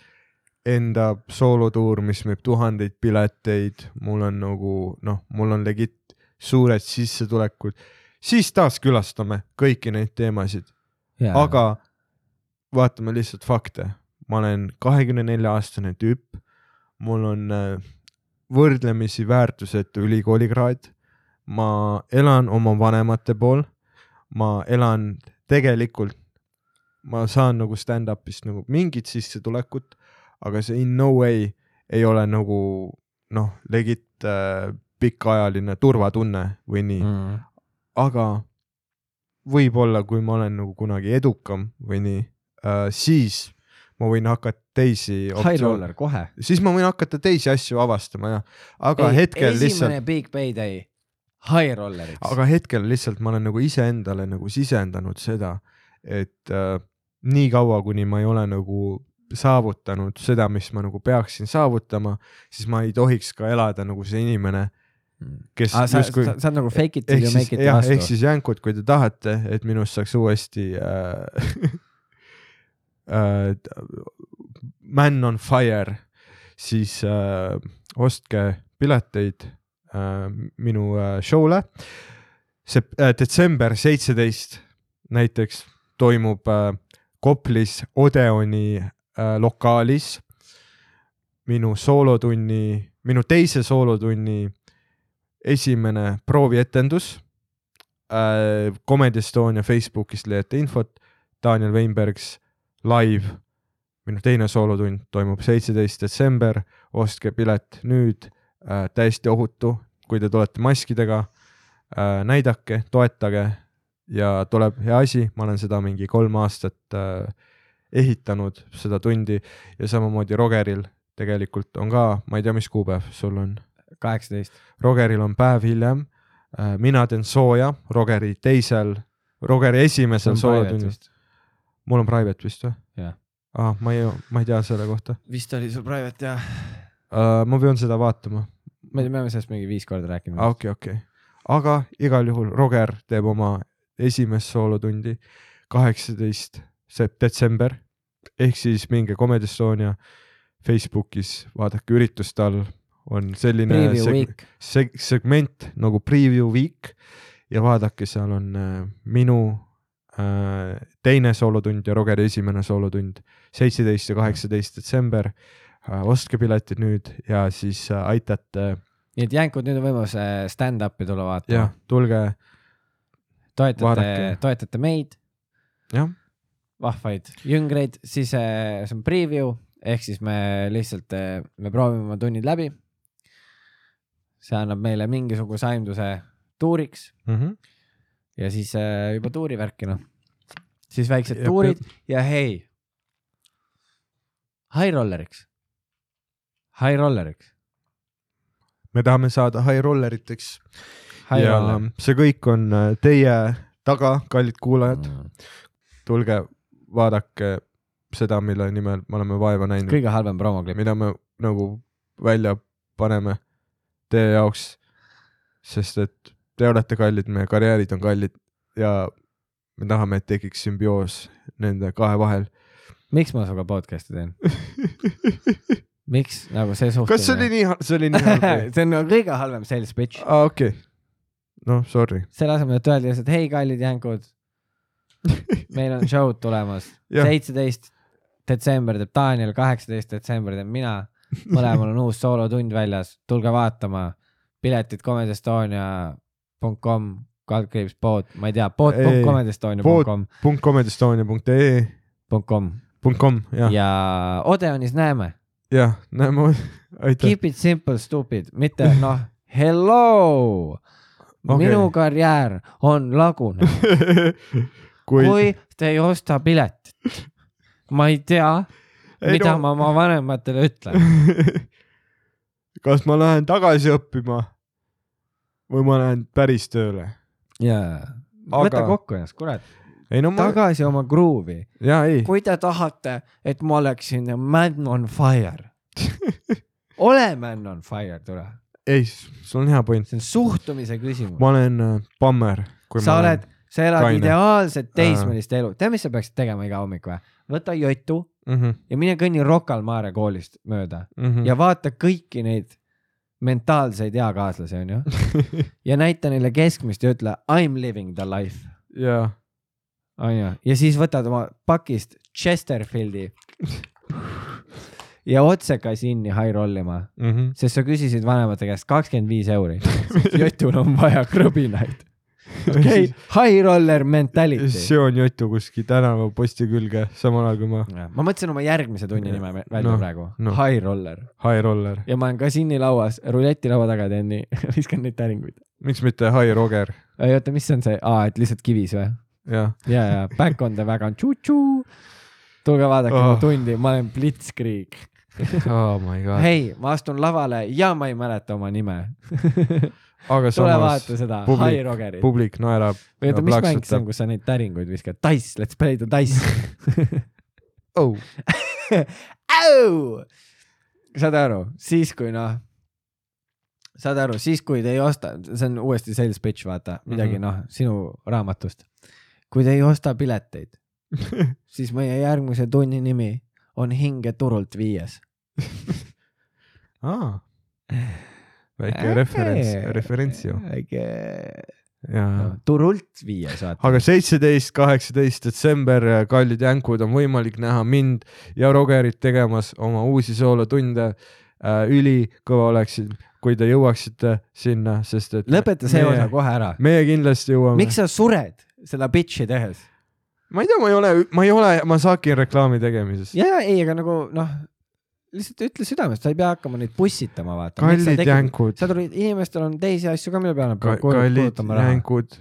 [SPEAKER 1] enda soolotuur , mis müüb tuhandeid pileteid , mul on nagu noh , mul on legit suured sissetulekud , siis taas külastame kõiki neid teemasid , aga vaatame lihtsalt fakte . ma olen kahekümne nelja aastane tüüp , mul on äh, võrdlemisi väärtusetu ülikoolikraad , ma elan oma vanemate pool , ma elan tegelikult , ma saan nagu stand-up'ist nagu mingit sissetulekut , aga see in no way ei ole nagu noh , legit äh, pikaajaline turvatunne või nii
[SPEAKER 2] mm. .
[SPEAKER 1] aga võib-olla , kui ma olen nagu kunagi edukam või nii äh, , siis ma võin hakata teisi
[SPEAKER 2] High . roller kohe .
[SPEAKER 1] siis ma võin hakata teisi asju avastama ja , aga ei, hetkel
[SPEAKER 2] esimene
[SPEAKER 1] lihtsalt ,
[SPEAKER 2] big payday , high rolleriks .
[SPEAKER 1] aga hetkel lihtsalt ma olen nagu iseendale nagu sisendanud seda , et äh, nii kaua , kuni ma ei ole nagu saavutanud seda , mis ma nagu peaksin saavutama , siis ma ei tohiks ka elada nagu see inimene , kes
[SPEAKER 2] Ah, sa,
[SPEAKER 1] justkui-
[SPEAKER 2] sa, sa oled nagu fake it till
[SPEAKER 1] ehk
[SPEAKER 2] you
[SPEAKER 1] siis
[SPEAKER 2] make it
[SPEAKER 1] jah , ehk
[SPEAKER 2] vastu .
[SPEAKER 1] siis jänkud , kui te tahate , et minust saaks uuesti äh, äh, Man on fire , siis äh, ostke pileteid äh, minu äh, show'le . see äh, detsember seitseteist näiteks toimub äh, Koplis Odeoni äh, lokaalis minu soolotunni , minu teise soolotunni esimene proovietendus äh, . Comedy Estonia Facebookist leiate infot , Daniel Weinbergs live . minu teine soolotund toimub seitseteist detsember , ostke pilet nüüd äh, , täiesti ohutu , kui te tulete maskidega äh, . näidake , toetage ja tuleb hea asi , ma olen seda mingi kolm aastat äh, ehitanud seda tundi ja samamoodi Rogeril tegelikult on ka , ma ei tea , mis kuupäev sul on
[SPEAKER 2] kaheksateist .
[SPEAKER 1] Rogeril on päev hiljem , mina teen sooja Rogeri teisel , Rogeri esimesel soojatunnis , mul on private vist või ?
[SPEAKER 2] Jah.
[SPEAKER 1] ah , ma ei , ma ei tea selle kohta
[SPEAKER 2] vist oli sul private jah .
[SPEAKER 1] uh, , ma pean seda vaatama ,
[SPEAKER 2] me me oleme sellest mingi viis korda rääkinud ah. .
[SPEAKER 1] okei , okei , aga igal juhul Roger teeb oma esimest soolotundi kaheksateist detsember ehk siis minge Comedy Estonia Facebookis , vaadake ürituste all on selline .
[SPEAKER 2] Preview week ,
[SPEAKER 1] seg- , segment nagu preview week ja vaadake , seal on äh, minu äh, teine soolotund ja Rogeri esimene soolotund , seitseteist ja kaheksateist detsember äh, . ostke piletid nüüd ja siis äh, aitate
[SPEAKER 2] nii et jänkud , nüüd on võimalus äh, stand-up'i tulla
[SPEAKER 1] ja
[SPEAKER 2] vaatama .
[SPEAKER 1] tulge
[SPEAKER 2] toetate
[SPEAKER 1] vaadake. ,
[SPEAKER 2] toetate meid ,
[SPEAKER 1] jah ,
[SPEAKER 2] vahvaid jüngreid , siis äh, see on preview ehk siis me lihtsalt , me proovime oma tunnid läbi . see annab meile mingisuguse aimduse tuuriks
[SPEAKER 1] mm -hmm.
[SPEAKER 2] ja siis äh, juba tuurivärki noh , siis väiksed
[SPEAKER 1] Ja
[SPEAKER 2] ja tuurid ja hei . High rolleriks , high rolleriks ,
[SPEAKER 1] me tahame saada high rolleriteks
[SPEAKER 2] high
[SPEAKER 1] ja
[SPEAKER 2] roller .
[SPEAKER 1] see kõik on äh, teie taga , kallid
[SPEAKER 2] Mhm.
[SPEAKER 1] kuulajad ,
[SPEAKER 2] Mm.
[SPEAKER 1] tulge vaadake seda , mille nimel me oleme vaeva näinud .
[SPEAKER 2] kõige halvem promoklipp ,
[SPEAKER 1] mida me nagu välja paneme teie jaoks . sest et te olete kallid , meie karjäärid on kallid ja me tahame , et tekiks sümbioos nende kahe vahel .
[SPEAKER 2] miks ma sinuga podcast'i teen ? miks nagu see suhtumine ?
[SPEAKER 1] kas see oli nii , see oli nii halb või ? Ah.
[SPEAKER 2] see on nagu kõige halvem sales pitch .
[SPEAKER 1] aa , okei . noh , sorry .
[SPEAKER 2] selle asemel , et öelda lihtsalt hei , kallid jänkud , meil on show'd tulemas .
[SPEAKER 1] Jah.
[SPEAKER 2] seitseteist detsember teeb Daniel , kaheksateist detsember teen mina . mõlemal on uus soolotund väljas , tulge vaatama . piletid comedyestonia.com , kaldkriips pood , ma ei tea ,
[SPEAKER 1] Ei,
[SPEAKER 2] pood.comedystonia.com ,
[SPEAKER 1] punkt comedystonia.ee
[SPEAKER 2] .com
[SPEAKER 1] punkt kom , jah ,
[SPEAKER 2] ja Odeonis näeme .
[SPEAKER 1] jah , näeme , aitäh .
[SPEAKER 2] Keep it simple , stupid , mitte noh , hello okay. .
[SPEAKER 1] Okei.
[SPEAKER 2] minu karjäär on lagunenud .
[SPEAKER 1] kui,
[SPEAKER 2] kui te ei osta piletit . ma ei tea ,
[SPEAKER 1] Ei
[SPEAKER 2] mida
[SPEAKER 1] no-
[SPEAKER 2] no. ma oma vanematele ütlen .
[SPEAKER 1] kas ma lähen tagasi õppima või ma lähen päris tööle ?
[SPEAKER 2] jaa . võta
[SPEAKER 1] Aga-
[SPEAKER 2] kokku ennast , kurat ,
[SPEAKER 1] ei no ma ,
[SPEAKER 2] tagasi oma gruuvi .
[SPEAKER 1] jaa ei ,
[SPEAKER 2] kui te tahate , et ma oleksin man on fire . ole man on fire , tule .
[SPEAKER 1] ei , sul on hea point .
[SPEAKER 2] see on suhtumise küsimus .
[SPEAKER 1] ma olen äh, bammer .
[SPEAKER 2] sa oled , sa elad
[SPEAKER 1] kaine.
[SPEAKER 2] kaine. ideaalset teismelist elu . tead , mis sa peaksid tegema iga hommik või ? võta jotu
[SPEAKER 1] olen .
[SPEAKER 2] ja mine kõnni Rocca al Mare koolist mööda
[SPEAKER 1] mhm. Mm.
[SPEAKER 2] ja vaata kõiki neid mentaalseid eakaaslasi , onju . ja näita neile keskmist ja ütle I m living the life ,
[SPEAKER 1] jaa ,
[SPEAKER 2] onju . ja siis võtad oma pakist Chesterfieldi ja otseka sinni high rollima ,
[SPEAKER 1] mhm.
[SPEAKER 2] sest sa küsisid vanemate käest kakskümmend viis euri . jotul on vaja krõbinaid . okei , high roller mentality .
[SPEAKER 1] see on jutu kuskil tänavaposti külge , samal ajal kui ma
[SPEAKER 2] ma mõtlesin oma järgmise tunni nime me- välja
[SPEAKER 1] No,
[SPEAKER 2] no, praegu
[SPEAKER 1] no.
[SPEAKER 2] no. , high roller
[SPEAKER 1] high roller ,
[SPEAKER 2] ja ma olen kasiini lauas , ruletilaua taga teen nii , viskan neid täringuid .
[SPEAKER 1] miks mitte high roger ,
[SPEAKER 2] ei oota , mis see on see , aa , et lihtsalt kivis või ?
[SPEAKER 1] jah .
[SPEAKER 2] ja , ja back on the wagon , tšu-tšu . tulge vaadake
[SPEAKER 1] Oh.
[SPEAKER 2] oh. mu tundi , ma olen Blitzkrieg .
[SPEAKER 1] Oh my god ,
[SPEAKER 2] hei , ma astun lavale ja ma ei mäleta oma nime .
[SPEAKER 1] aga
[SPEAKER 2] tule vaata
[SPEAKER 1] samas
[SPEAKER 2] seda ,
[SPEAKER 1] publik-
[SPEAKER 2] High Rogerit .
[SPEAKER 1] publik naerab .
[SPEAKER 2] või oota , mis mäng see on , kus sa neid täringuid viskad ? Dice , let's play the dice .
[SPEAKER 1] oh. ?
[SPEAKER 2] au , saad aru , siis kui noh , saad aru , siis kui te ei osta , see on uuesti sales pitch , vaata midagi
[SPEAKER 1] Mhm.
[SPEAKER 2] mm -hmm. noh , sinu raamatust . kui te ei osta pileteid , siis meie järgmise tunni nimi on hinge turult viies .
[SPEAKER 1] aa , väike okay. referents , referents ju .
[SPEAKER 2] väike
[SPEAKER 1] jaa
[SPEAKER 2] no, , turult viies , vaata .
[SPEAKER 1] aga seitseteist , kaheksateist detsember , kallid jänkud , on võimalik näha mind ja Rogerit tegemas oma uusi soolotunde . ülikõva oleks , kui te jõuaksite sinna , sest et .
[SPEAKER 2] lõpeta see osa . kohe ära .
[SPEAKER 1] meie kindlasti jõuame .
[SPEAKER 2] miks sa sured seda pitch'i tehes ?
[SPEAKER 1] ma ei tea , ma ei ole , ma ei ole Masaki reklaami tegemises .
[SPEAKER 2] ja , ja ei , aga nagu noh , lihtsalt ütle südamest , sa ei pea hakkama neid pussitama , vaata .
[SPEAKER 1] Kallid jänkud.
[SPEAKER 2] sa tulid , inimestel on teisi asju ka , mille peale nad peavad kulu-
[SPEAKER 1] kallid
[SPEAKER 2] kulutama raha .
[SPEAKER 1] jänkud .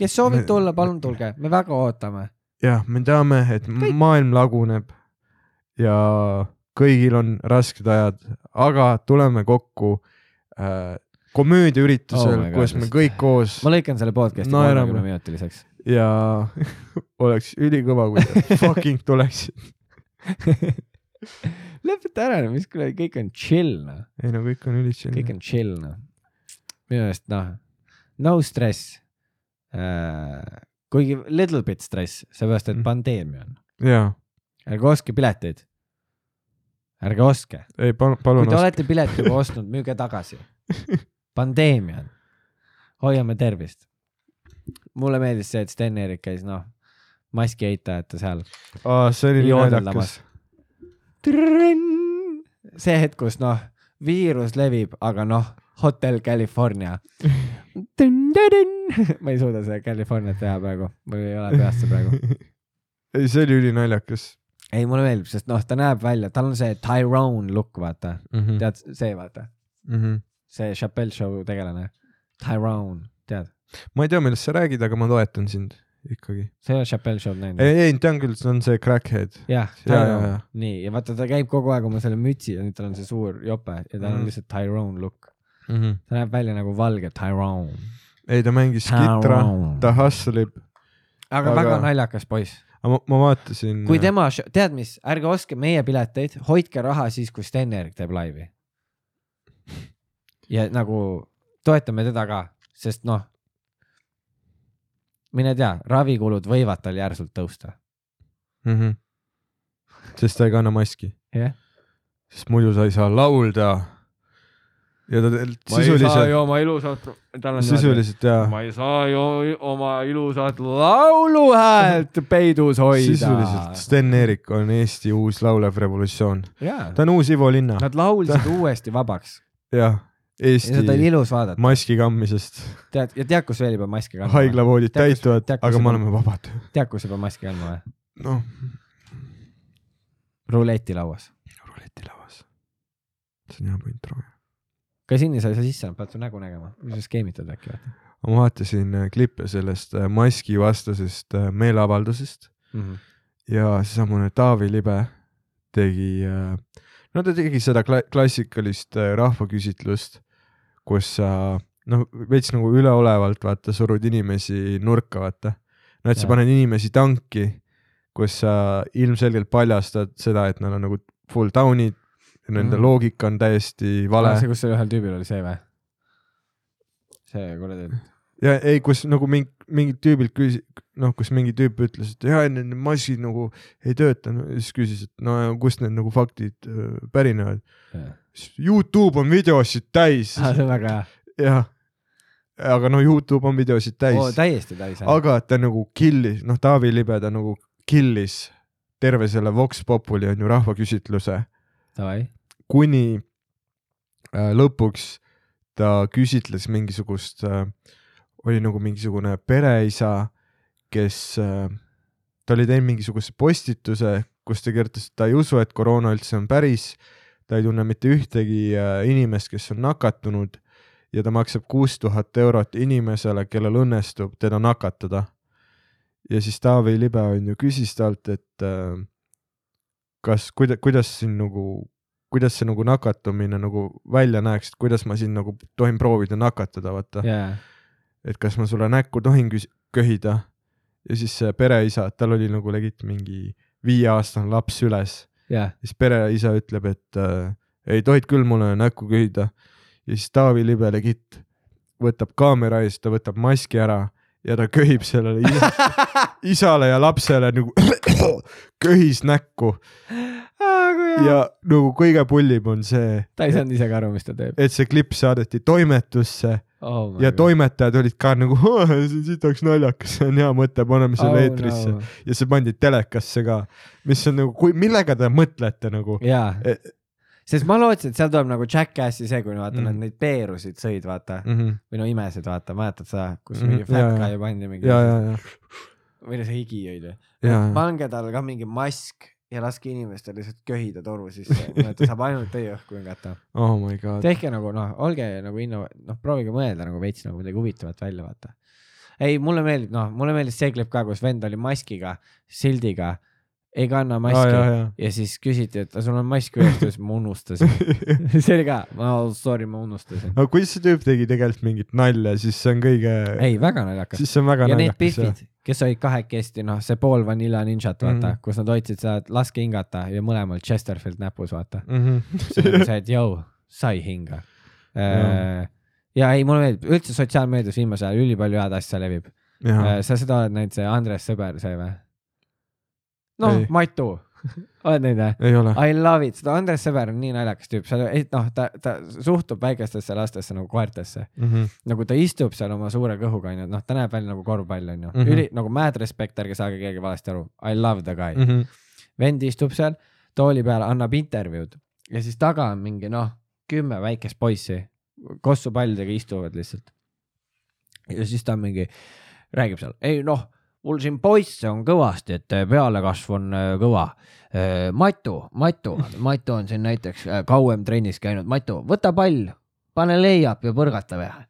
[SPEAKER 2] kes soovib tulla , palun . tulge , me väga ootame .
[SPEAKER 1] jah , me teame , et Kõik. maailm laguneb ja kõigil on rasked ajad , aga tuleme kokku äh, komöödiaüritusel
[SPEAKER 2] Oh
[SPEAKER 1] oh
[SPEAKER 2] my God, ,
[SPEAKER 1] kus me
[SPEAKER 2] just.
[SPEAKER 1] kõik koos
[SPEAKER 2] ma lõikan selle podcast'i
[SPEAKER 1] Naerame.
[SPEAKER 2] kolmekümne minutiliseks .
[SPEAKER 1] ja oleks ülikõva , kui te fucking tuleksite .
[SPEAKER 2] lõpeta ära , mis kuradi , kõik on chill noh ,
[SPEAKER 1] ei no kõik on ülitsiin .
[SPEAKER 2] kõik on chill noh . minu meelest noh , no stress äh, . kuigi little bit stress , seepärast et
[SPEAKER 1] Mhm.
[SPEAKER 2] pandeemia on .
[SPEAKER 1] jaa ,
[SPEAKER 2] ärge ostke pileteid . ärge ostke .
[SPEAKER 1] ei palun ,
[SPEAKER 2] kui
[SPEAKER 1] palun
[SPEAKER 2] te . olete pileti juba ostnud , müüge tagasi . pandeemia on , hoiame tervist . mulle meeldis see , et Sten-Erik käis noh , maski eitajate seal .
[SPEAKER 1] aa , see oli nii naljakas
[SPEAKER 2] joodeldamas. . see hetk , kus noh , viirus levib , aga noh , Hotel California . ma ei suuda seda Californiat teha praegu , mul ei ole peas see praegu .
[SPEAKER 1] ei , see oli ülinaljakas
[SPEAKER 2] ei , mulle meeldib , sest noh , ta näeb välja , tal on see Tyrone look , vaata ,
[SPEAKER 1] mm . -hmm.
[SPEAKER 2] tead see , vaata
[SPEAKER 1] Mm -hmm.
[SPEAKER 2] see Chappelle show tegelane , Tyrone , tead ,
[SPEAKER 1] ma ei tea , millest sa räägid , aga ma toetan sind ikkagi .
[SPEAKER 2] sa ei ole Chappelle show'd näinud ?
[SPEAKER 1] ei , ei , tean küll , see on see Crackhead .
[SPEAKER 2] jah ,
[SPEAKER 1] jaa, jaa,
[SPEAKER 2] Tyrone
[SPEAKER 1] jaa. ,
[SPEAKER 2] nii ja vaata , ta käib kogu aeg oma selle mütsi ja nüüd tal on see suur jope ja tal
[SPEAKER 1] Mhm.
[SPEAKER 2] on lihtsalt Tyrone look .
[SPEAKER 1] mm . -hmm.
[SPEAKER 2] ta näeb välja nagu valge Tyrone .
[SPEAKER 1] ei , ta mängis kitra , ta hustleb ,
[SPEAKER 2] aga
[SPEAKER 1] Aga-
[SPEAKER 2] väga naljakas poiss ,
[SPEAKER 1] aga ma, ma vaatasin .
[SPEAKER 2] kui tema , tead mis , ärge ostke meie pileteid , hoidke raha siis , kui Sten-Erik teeb laivi . ja nagu toetame teda ka , sest noh , mine tea , ravikulud võivad tal järsult tõusta .
[SPEAKER 1] mm . -hmm. sest ta ei kanna maski ,
[SPEAKER 2] jah .
[SPEAKER 1] sest muidu sa ei saa laulda . ja ta te- sisuliselt ,
[SPEAKER 2] ju oma ilusat , tal
[SPEAKER 1] sisuliselt ja
[SPEAKER 2] ma ei saa ju oma ilusat lauluhäält peidus
[SPEAKER 1] sisuliselt Sten Eerik on Eesti uus laulev revolutsioon ,
[SPEAKER 2] jaa ,
[SPEAKER 1] ta on uus Ivo Linna
[SPEAKER 2] nad laulsid uuesti vabaks
[SPEAKER 1] ja
[SPEAKER 2] ja seda
[SPEAKER 1] Eesti
[SPEAKER 2] oli ilus vaadata ,
[SPEAKER 1] maski kandmisest ,
[SPEAKER 2] tead , ja tead , kus veel ei pea maski kandma ?
[SPEAKER 1] haiglavoodid
[SPEAKER 2] Tead, kus-
[SPEAKER 1] täituvad
[SPEAKER 2] tead, , kus
[SPEAKER 1] aga
[SPEAKER 2] see
[SPEAKER 1] me
[SPEAKER 2] on?
[SPEAKER 1] oleme vabad .
[SPEAKER 2] tead , kus ei pea maski kandma või ?
[SPEAKER 1] noh ,
[SPEAKER 2] ruletilauas .
[SPEAKER 1] ruletilavas . see on hea point , Roy .
[SPEAKER 2] ka sinna sa ei saa sisse , pead su nägu nägema , sa skeemitad äkki või
[SPEAKER 1] ma vaatasin äh, klippe sellest äh, maskivastasest äh, meeleavaldusest
[SPEAKER 2] mm ? -hmm.
[SPEAKER 1] ja seesamune Taavi Libe tegi , no ta tegi seda kla- klassikalist äh, rahvaküsitlust , kus sa noh , veits nagu üleolevalt vaata , surud inimesi nurka , vaata . no et sa
[SPEAKER 2] Jaa.
[SPEAKER 1] paned inimesi tanki , kus sa ilmselgelt paljastad seda , et nad on nagu full down'id , nende
[SPEAKER 2] Mhm.
[SPEAKER 1] mm. loogika on täiesti vale
[SPEAKER 2] see , kus seal ühel tüübil oli see või ? see kuradi ,
[SPEAKER 1] ja ei , kus nagu mingi , mingilt tüübilt küsis , noh , kus mingi tüüp ütles , et jaa , need massid nagu ei tööta no, , siis küsis , et no ja kust need nagu faktid öö, pärinevad .
[SPEAKER 2] see
[SPEAKER 1] Youtube on videosid täis
[SPEAKER 2] on väga hea .
[SPEAKER 1] ja , aga no Youtube on videosid täis ,
[SPEAKER 2] täiesti täis .
[SPEAKER 1] aga ta nagu killis , noh , Taavi Libe ta nagu killis terve selle Vox Populi on ju rahvaküsitluse ,
[SPEAKER 2] Davai .
[SPEAKER 1] kuni äh, lõpuks ta küsitles mingisugust äh, , oli nagu mingisugune pereisa , kes äh, , ta oli teinud mingisuguse postituse , kus ta kirjutas , et ta ei usu , et koroona üldse on päris , ta ei tunne mitte ühtegi äh, inimest , kes on nakatunud ja ta maksab kuus tuhat eurot inimesele , kellel õnnestub teda nakatada . ja siis Taavi Libe on ju küsis talt , et äh, kas , kuida- , kuidas siin nagu , kuidas see nagu nakatumine nagu välja näeks , et kuidas ma siin nagu tohin proovida nakatada , vaata .
[SPEAKER 2] jaa ,
[SPEAKER 1] et kas ma sulle näkku tohin küs- , köhida . ja siis see pereisa , tal oli nagu legit mingi viieaastane laps üles ,
[SPEAKER 2] jaa .
[SPEAKER 1] siis pereisa ütleb , et äh, ei tohid küll mulle näkku köhida . ja siis Taavi Libe legit võtab kaamera ees , ta võtab maski ära ja ta köhib sellele isa, isale ja lapsele nagu köhis näkku ja nagu kõige pullim on see ,
[SPEAKER 2] ta ei saanud ise ka aru , mis ta teeb .
[SPEAKER 1] et see klipp saadeti toimetusse
[SPEAKER 2] Oh
[SPEAKER 1] ja toimetajad olid ka nagu , see on sitaks naljakas , see on hea mõte , paneme selle oh, eetrisse no. . ja see pandi telekasse ka , mis on nagu , kui , millega te mõtlete nagu
[SPEAKER 2] jaa
[SPEAKER 1] E- ,
[SPEAKER 2] sest ma lootsin , et seal tuleb nagu Jackassi see , kui vaata mm.
[SPEAKER 1] Mm.
[SPEAKER 2] nad neid peerusid sõid , vaata mm.
[SPEAKER 1] mm . -hmm.
[SPEAKER 2] või no imesid , vaata , mäletad seda , kus
[SPEAKER 1] Mhm,
[SPEAKER 2] mm. mingi
[SPEAKER 1] jaa,
[SPEAKER 2] fat
[SPEAKER 1] jaa.
[SPEAKER 2] guy pandi mingi
[SPEAKER 1] ja , ja , ja ,
[SPEAKER 2] või no see higi oli .
[SPEAKER 1] ja , ja ,
[SPEAKER 2] pange talle ka mingi mask ja laske inimestel lihtsalt köhida toru sisse , ta saab ainult teie õhku hingata .
[SPEAKER 1] oh my god ,
[SPEAKER 2] tehke nagu noh , olge nagu inno- , noh , proovige mõelda nagu veits nagu midagi huvitavat välja , vaata . ei , mulle meeldib , noh , mulle meeldis see klipp ka , kus vend oli maskiga , sildiga , ei kanna
[SPEAKER 1] ja ,
[SPEAKER 2] maski
[SPEAKER 1] ja ,
[SPEAKER 2] ah, ,
[SPEAKER 1] ja
[SPEAKER 2] ja siis küsiti , et "A, sul on mask ühes , siis ma unustasin . see oli ka , ma sorry , ma unustasin .
[SPEAKER 1] aga kui see tüüp tegi tegelikult mingit nalja , siis see on kõige ,
[SPEAKER 2] ei , väga naljakas .
[SPEAKER 1] siis see on väga
[SPEAKER 2] ja need
[SPEAKER 1] naljakas jah
[SPEAKER 2] Biffid , kes olid kahekesti , noh , see pool Vanilla Ninjat , vaata mm ,
[SPEAKER 1] Mhm.
[SPEAKER 2] -hmm. kus nad hoidsid seda , et laske hingata ja mõlemal Chesterfield näpus , vaata .
[SPEAKER 1] mm .
[SPEAKER 2] see oli
[SPEAKER 1] -hmm.
[SPEAKER 2] see , et jõu , sai hinga .
[SPEAKER 1] Jaa.
[SPEAKER 2] ja ei , mulle meeldib , üldse sotsiaalmeedias viimasel ajal ülipalju head asja levib .
[SPEAKER 1] ja ,
[SPEAKER 2] sa seda oled näinud , see Andres sõber , see või ? noh
[SPEAKER 1] Ei. ,
[SPEAKER 2] Matu , oled näinud või ?
[SPEAKER 1] ei ole ,
[SPEAKER 2] I love it , seda Andres sõber on nii naljakas tüüp , seal , noh , ta , ta suhtub väikestesse lastesse nagu koertesse .
[SPEAKER 1] Mhm.
[SPEAKER 2] nagu ta istub seal oma suure kõhuga , onju , noh , ta näeb välja nagu korvpall , onju mm .
[SPEAKER 1] Mhm.
[SPEAKER 2] -hmm. üli , nagu mad respect , ärge saage keegi valesti aru . I love the guy mm .
[SPEAKER 1] Mhm.
[SPEAKER 2] -hmm. vend istub seal tooli peal , annab intervjuud ja siis taga on mingi , noh , kümme väikest poissi , kossupallidega istuvad lihtsalt . ja siis ta on mingi , räägib seal , ei noh , mul siin poisse on kõvasti , et eh, pealekasv on äh, kõva . Matu , Matu , Matu on siin näiteks äh, kauem trennis käinud , Matu , võta pall , pane leiab ja põrgata vähe .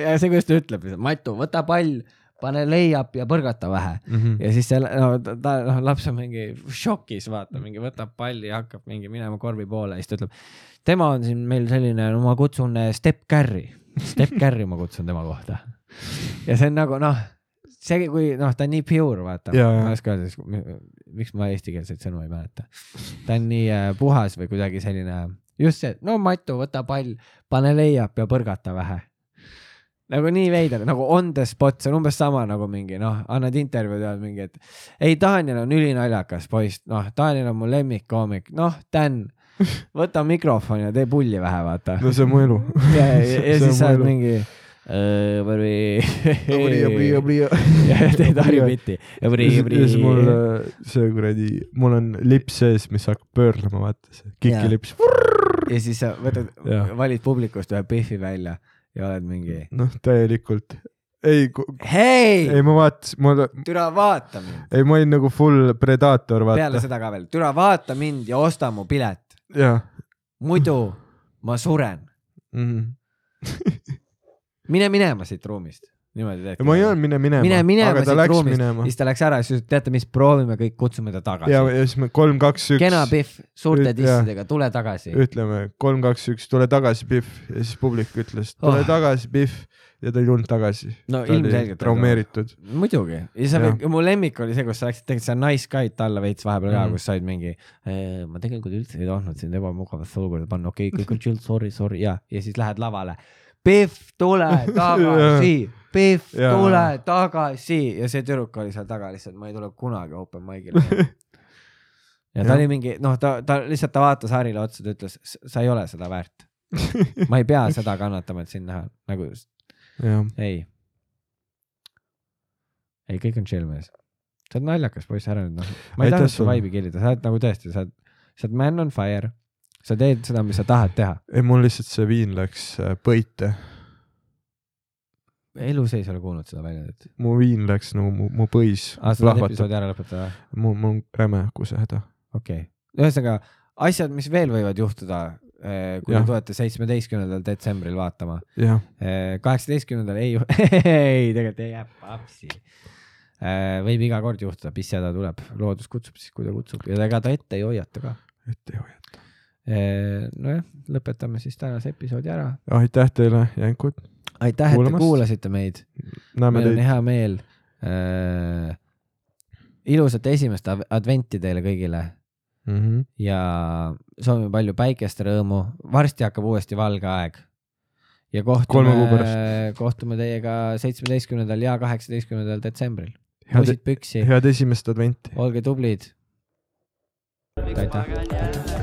[SPEAKER 2] ja see , kuidas ta ütleb , Matu , võta pall , pane leiab ja põrgata vähe .
[SPEAKER 1] Mhm. Mm.
[SPEAKER 2] ja siis seal , no ta- ta , noh , laps on mingi šokis , vaata , mingi võtab palli ja hakkab mingi minema korvi poole ja siis ta ütleb . tema on siin meil selline , no ma kutsun äh, step carry , step carry ma kutsun tema kohta . ja see on nagu noh , see , kui noh , ta on nii pure , vaata ,
[SPEAKER 1] Jaa, jaa.
[SPEAKER 2] ma ei oska öelda , siis miks ma eestikeelseid sõnu ei mäleta . ta on nii äh, puhas või kuidagi selline , just see , no Matu , võta pall , pane leiab ja põrgata vähe nagu nii veider , nagu on the spot , see on umbes sama nagu mingi noh , annad intervjuud ja oled mingi , et ei , Daniel on ülinaljakas poiss , noh , Daniel on mu lemmikkoomik , noh , Dan , võta mikrofon ja tee pulli vähe , vaata .
[SPEAKER 1] no see on mu elu .
[SPEAKER 2] ja , ja, ja
[SPEAKER 1] see on
[SPEAKER 2] siis sa oled
[SPEAKER 1] mõelu.
[SPEAKER 2] mingi . ja
[SPEAKER 1] ja
[SPEAKER 2] teed harjupitti .
[SPEAKER 1] siis mul äh, see kuradi , mul on lips sees , mis hakkab pöörlema , vaata see
[SPEAKER 2] Jaa.
[SPEAKER 1] kikilips .
[SPEAKER 2] ja siis sa võtad
[SPEAKER 1] Jah. ,
[SPEAKER 2] valid publikust ühe pihvi välja ja oled mingi ,
[SPEAKER 1] noh , täielikult . ei ,
[SPEAKER 2] hei
[SPEAKER 1] ei , ma vaatasin , ma ,
[SPEAKER 2] türa vaata mind ,
[SPEAKER 1] ei ma olin nagu full predaator ,
[SPEAKER 2] peale
[SPEAKER 1] vaata .
[SPEAKER 2] seda ka veel , türa vaata mind ja osta mu pilet ,
[SPEAKER 1] jah .
[SPEAKER 2] muidu ma suren ,
[SPEAKER 1] mhm.
[SPEAKER 2] mine minema siit ruumist , niimoodi tehti .
[SPEAKER 1] ma ei öelnud mine minema .
[SPEAKER 2] mine minema
[SPEAKER 1] aga ta
[SPEAKER 2] siit
[SPEAKER 1] läks
[SPEAKER 2] ruumist ,
[SPEAKER 1] minema .
[SPEAKER 2] siis ta läks ära ja siis ütles , teate mis , proovime kõik , kutsume ta tagasi
[SPEAKER 1] ja , ja siis me kolm , kaks , üks .
[SPEAKER 2] kena Pihv , suurte
[SPEAKER 1] Üt-
[SPEAKER 2] dissidega , tule tagasi .
[SPEAKER 1] ütleme kolm , kaks , üks , tule tagasi , Pihv ja siis publik ütles , tule
[SPEAKER 2] Oh.
[SPEAKER 1] oh. tagasi , Pihv ja ta ei tulnud tagasi .
[SPEAKER 2] No
[SPEAKER 1] ta
[SPEAKER 2] ilmselgelt ei
[SPEAKER 1] traumeeritud .
[SPEAKER 2] muidugi , ja sa
[SPEAKER 1] Jah.
[SPEAKER 2] võid , mu lemmik oli see , kus sa läksid tegelikult seal Nice Guy'd alla veits vahepeal ka
[SPEAKER 1] Mhm. ,
[SPEAKER 2] kus said mingi . ma tegelikult üldse ei tahtnud sind ebamugavasse olukorda panna , okei okay, , kõik on chill , sorry , sorry ja , ja siis lähed lavale . Pihv , tule tagasi , Pihv ,
[SPEAKER 1] Jaa.
[SPEAKER 2] tule tagasi ja see tüdruk oli seal taga lihtsalt , ma ei tule kunagi open mic'ile . ja ta
[SPEAKER 1] Jah.
[SPEAKER 2] oli mingi , noh , ta , ta lihtsalt ta vaatas Harile otsa , ta ütles , sa ei ole seda väärt . ma ei pea seda kannatama , et sind näha , nagu
[SPEAKER 1] jah ,
[SPEAKER 2] ei . ei , kõik on chill mees . sa oled naljakas poiss , ära nüüd noh . ma ei
[SPEAKER 1] Aitäh
[SPEAKER 2] tahtnud su
[SPEAKER 1] sulle.
[SPEAKER 2] vibe'i killida , sa oled nagu tõesti , sa oled , sa oled man on fire . sa teed seda , mis sa tahad teha .
[SPEAKER 1] ei mul lihtsalt see viin läks äh, põite ,
[SPEAKER 2] elu sees ei ole kuulnud seda väljendit .
[SPEAKER 1] mu viin läks nagu mu , mu põis
[SPEAKER 2] aa , sa tahad
[SPEAKER 1] plahvatab ,
[SPEAKER 2] Ah, episoodi ära lõpetada ?
[SPEAKER 1] mul , mul on räme kusehäda .
[SPEAKER 2] okei okay. . ühesõnaga , asjad , mis veel võivad juhtuda , kui te
[SPEAKER 1] Jah.
[SPEAKER 2] tulete seitsmeteistkümnendal detsembril vaatama .
[SPEAKER 1] jah ,
[SPEAKER 2] Äh, kaheksateistkümnendal ei , ei tegelikult ei jää papsi . võib iga kord juhtuda , mis häda tuleb , loodus kutsub siis , kui ta kutsub ja ega ta ette ei hoiata ka .
[SPEAKER 1] ette ei hoia .
[SPEAKER 2] nojah , lõpetame siis tänase episoodi ära .
[SPEAKER 1] aitäh teile , jänkud ,
[SPEAKER 2] aitäh , et te
[SPEAKER 1] Kuulamast.
[SPEAKER 2] kuulasite meid ,
[SPEAKER 1] näeme
[SPEAKER 2] meil on
[SPEAKER 1] teid ,
[SPEAKER 2] hea meel . ilusat esimest av- adventi teile kõigile
[SPEAKER 1] Mhm.
[SPEAKER 2] ja soovime palju päikest , rõõmu , varsti hakkab uuesti valge aeg . ja
[SPEAKER 1] Kolme kuu
[SPEAKER 2] kohtume
[SPEAKER 1] pärast. ,
[SPEAKER 2] kohtume teiega seitsmeteistkümnendal ja kaheksateistkümnendal detsembril .
[SPEAKER 1] head ,
[SPEAKER 2] pussid püksi ,
[SPEAKER 1] head esimest adventi .
[SPEAKER 2] olge tublid . aitäh .
[SPEAKER 3] Pagan jälle ,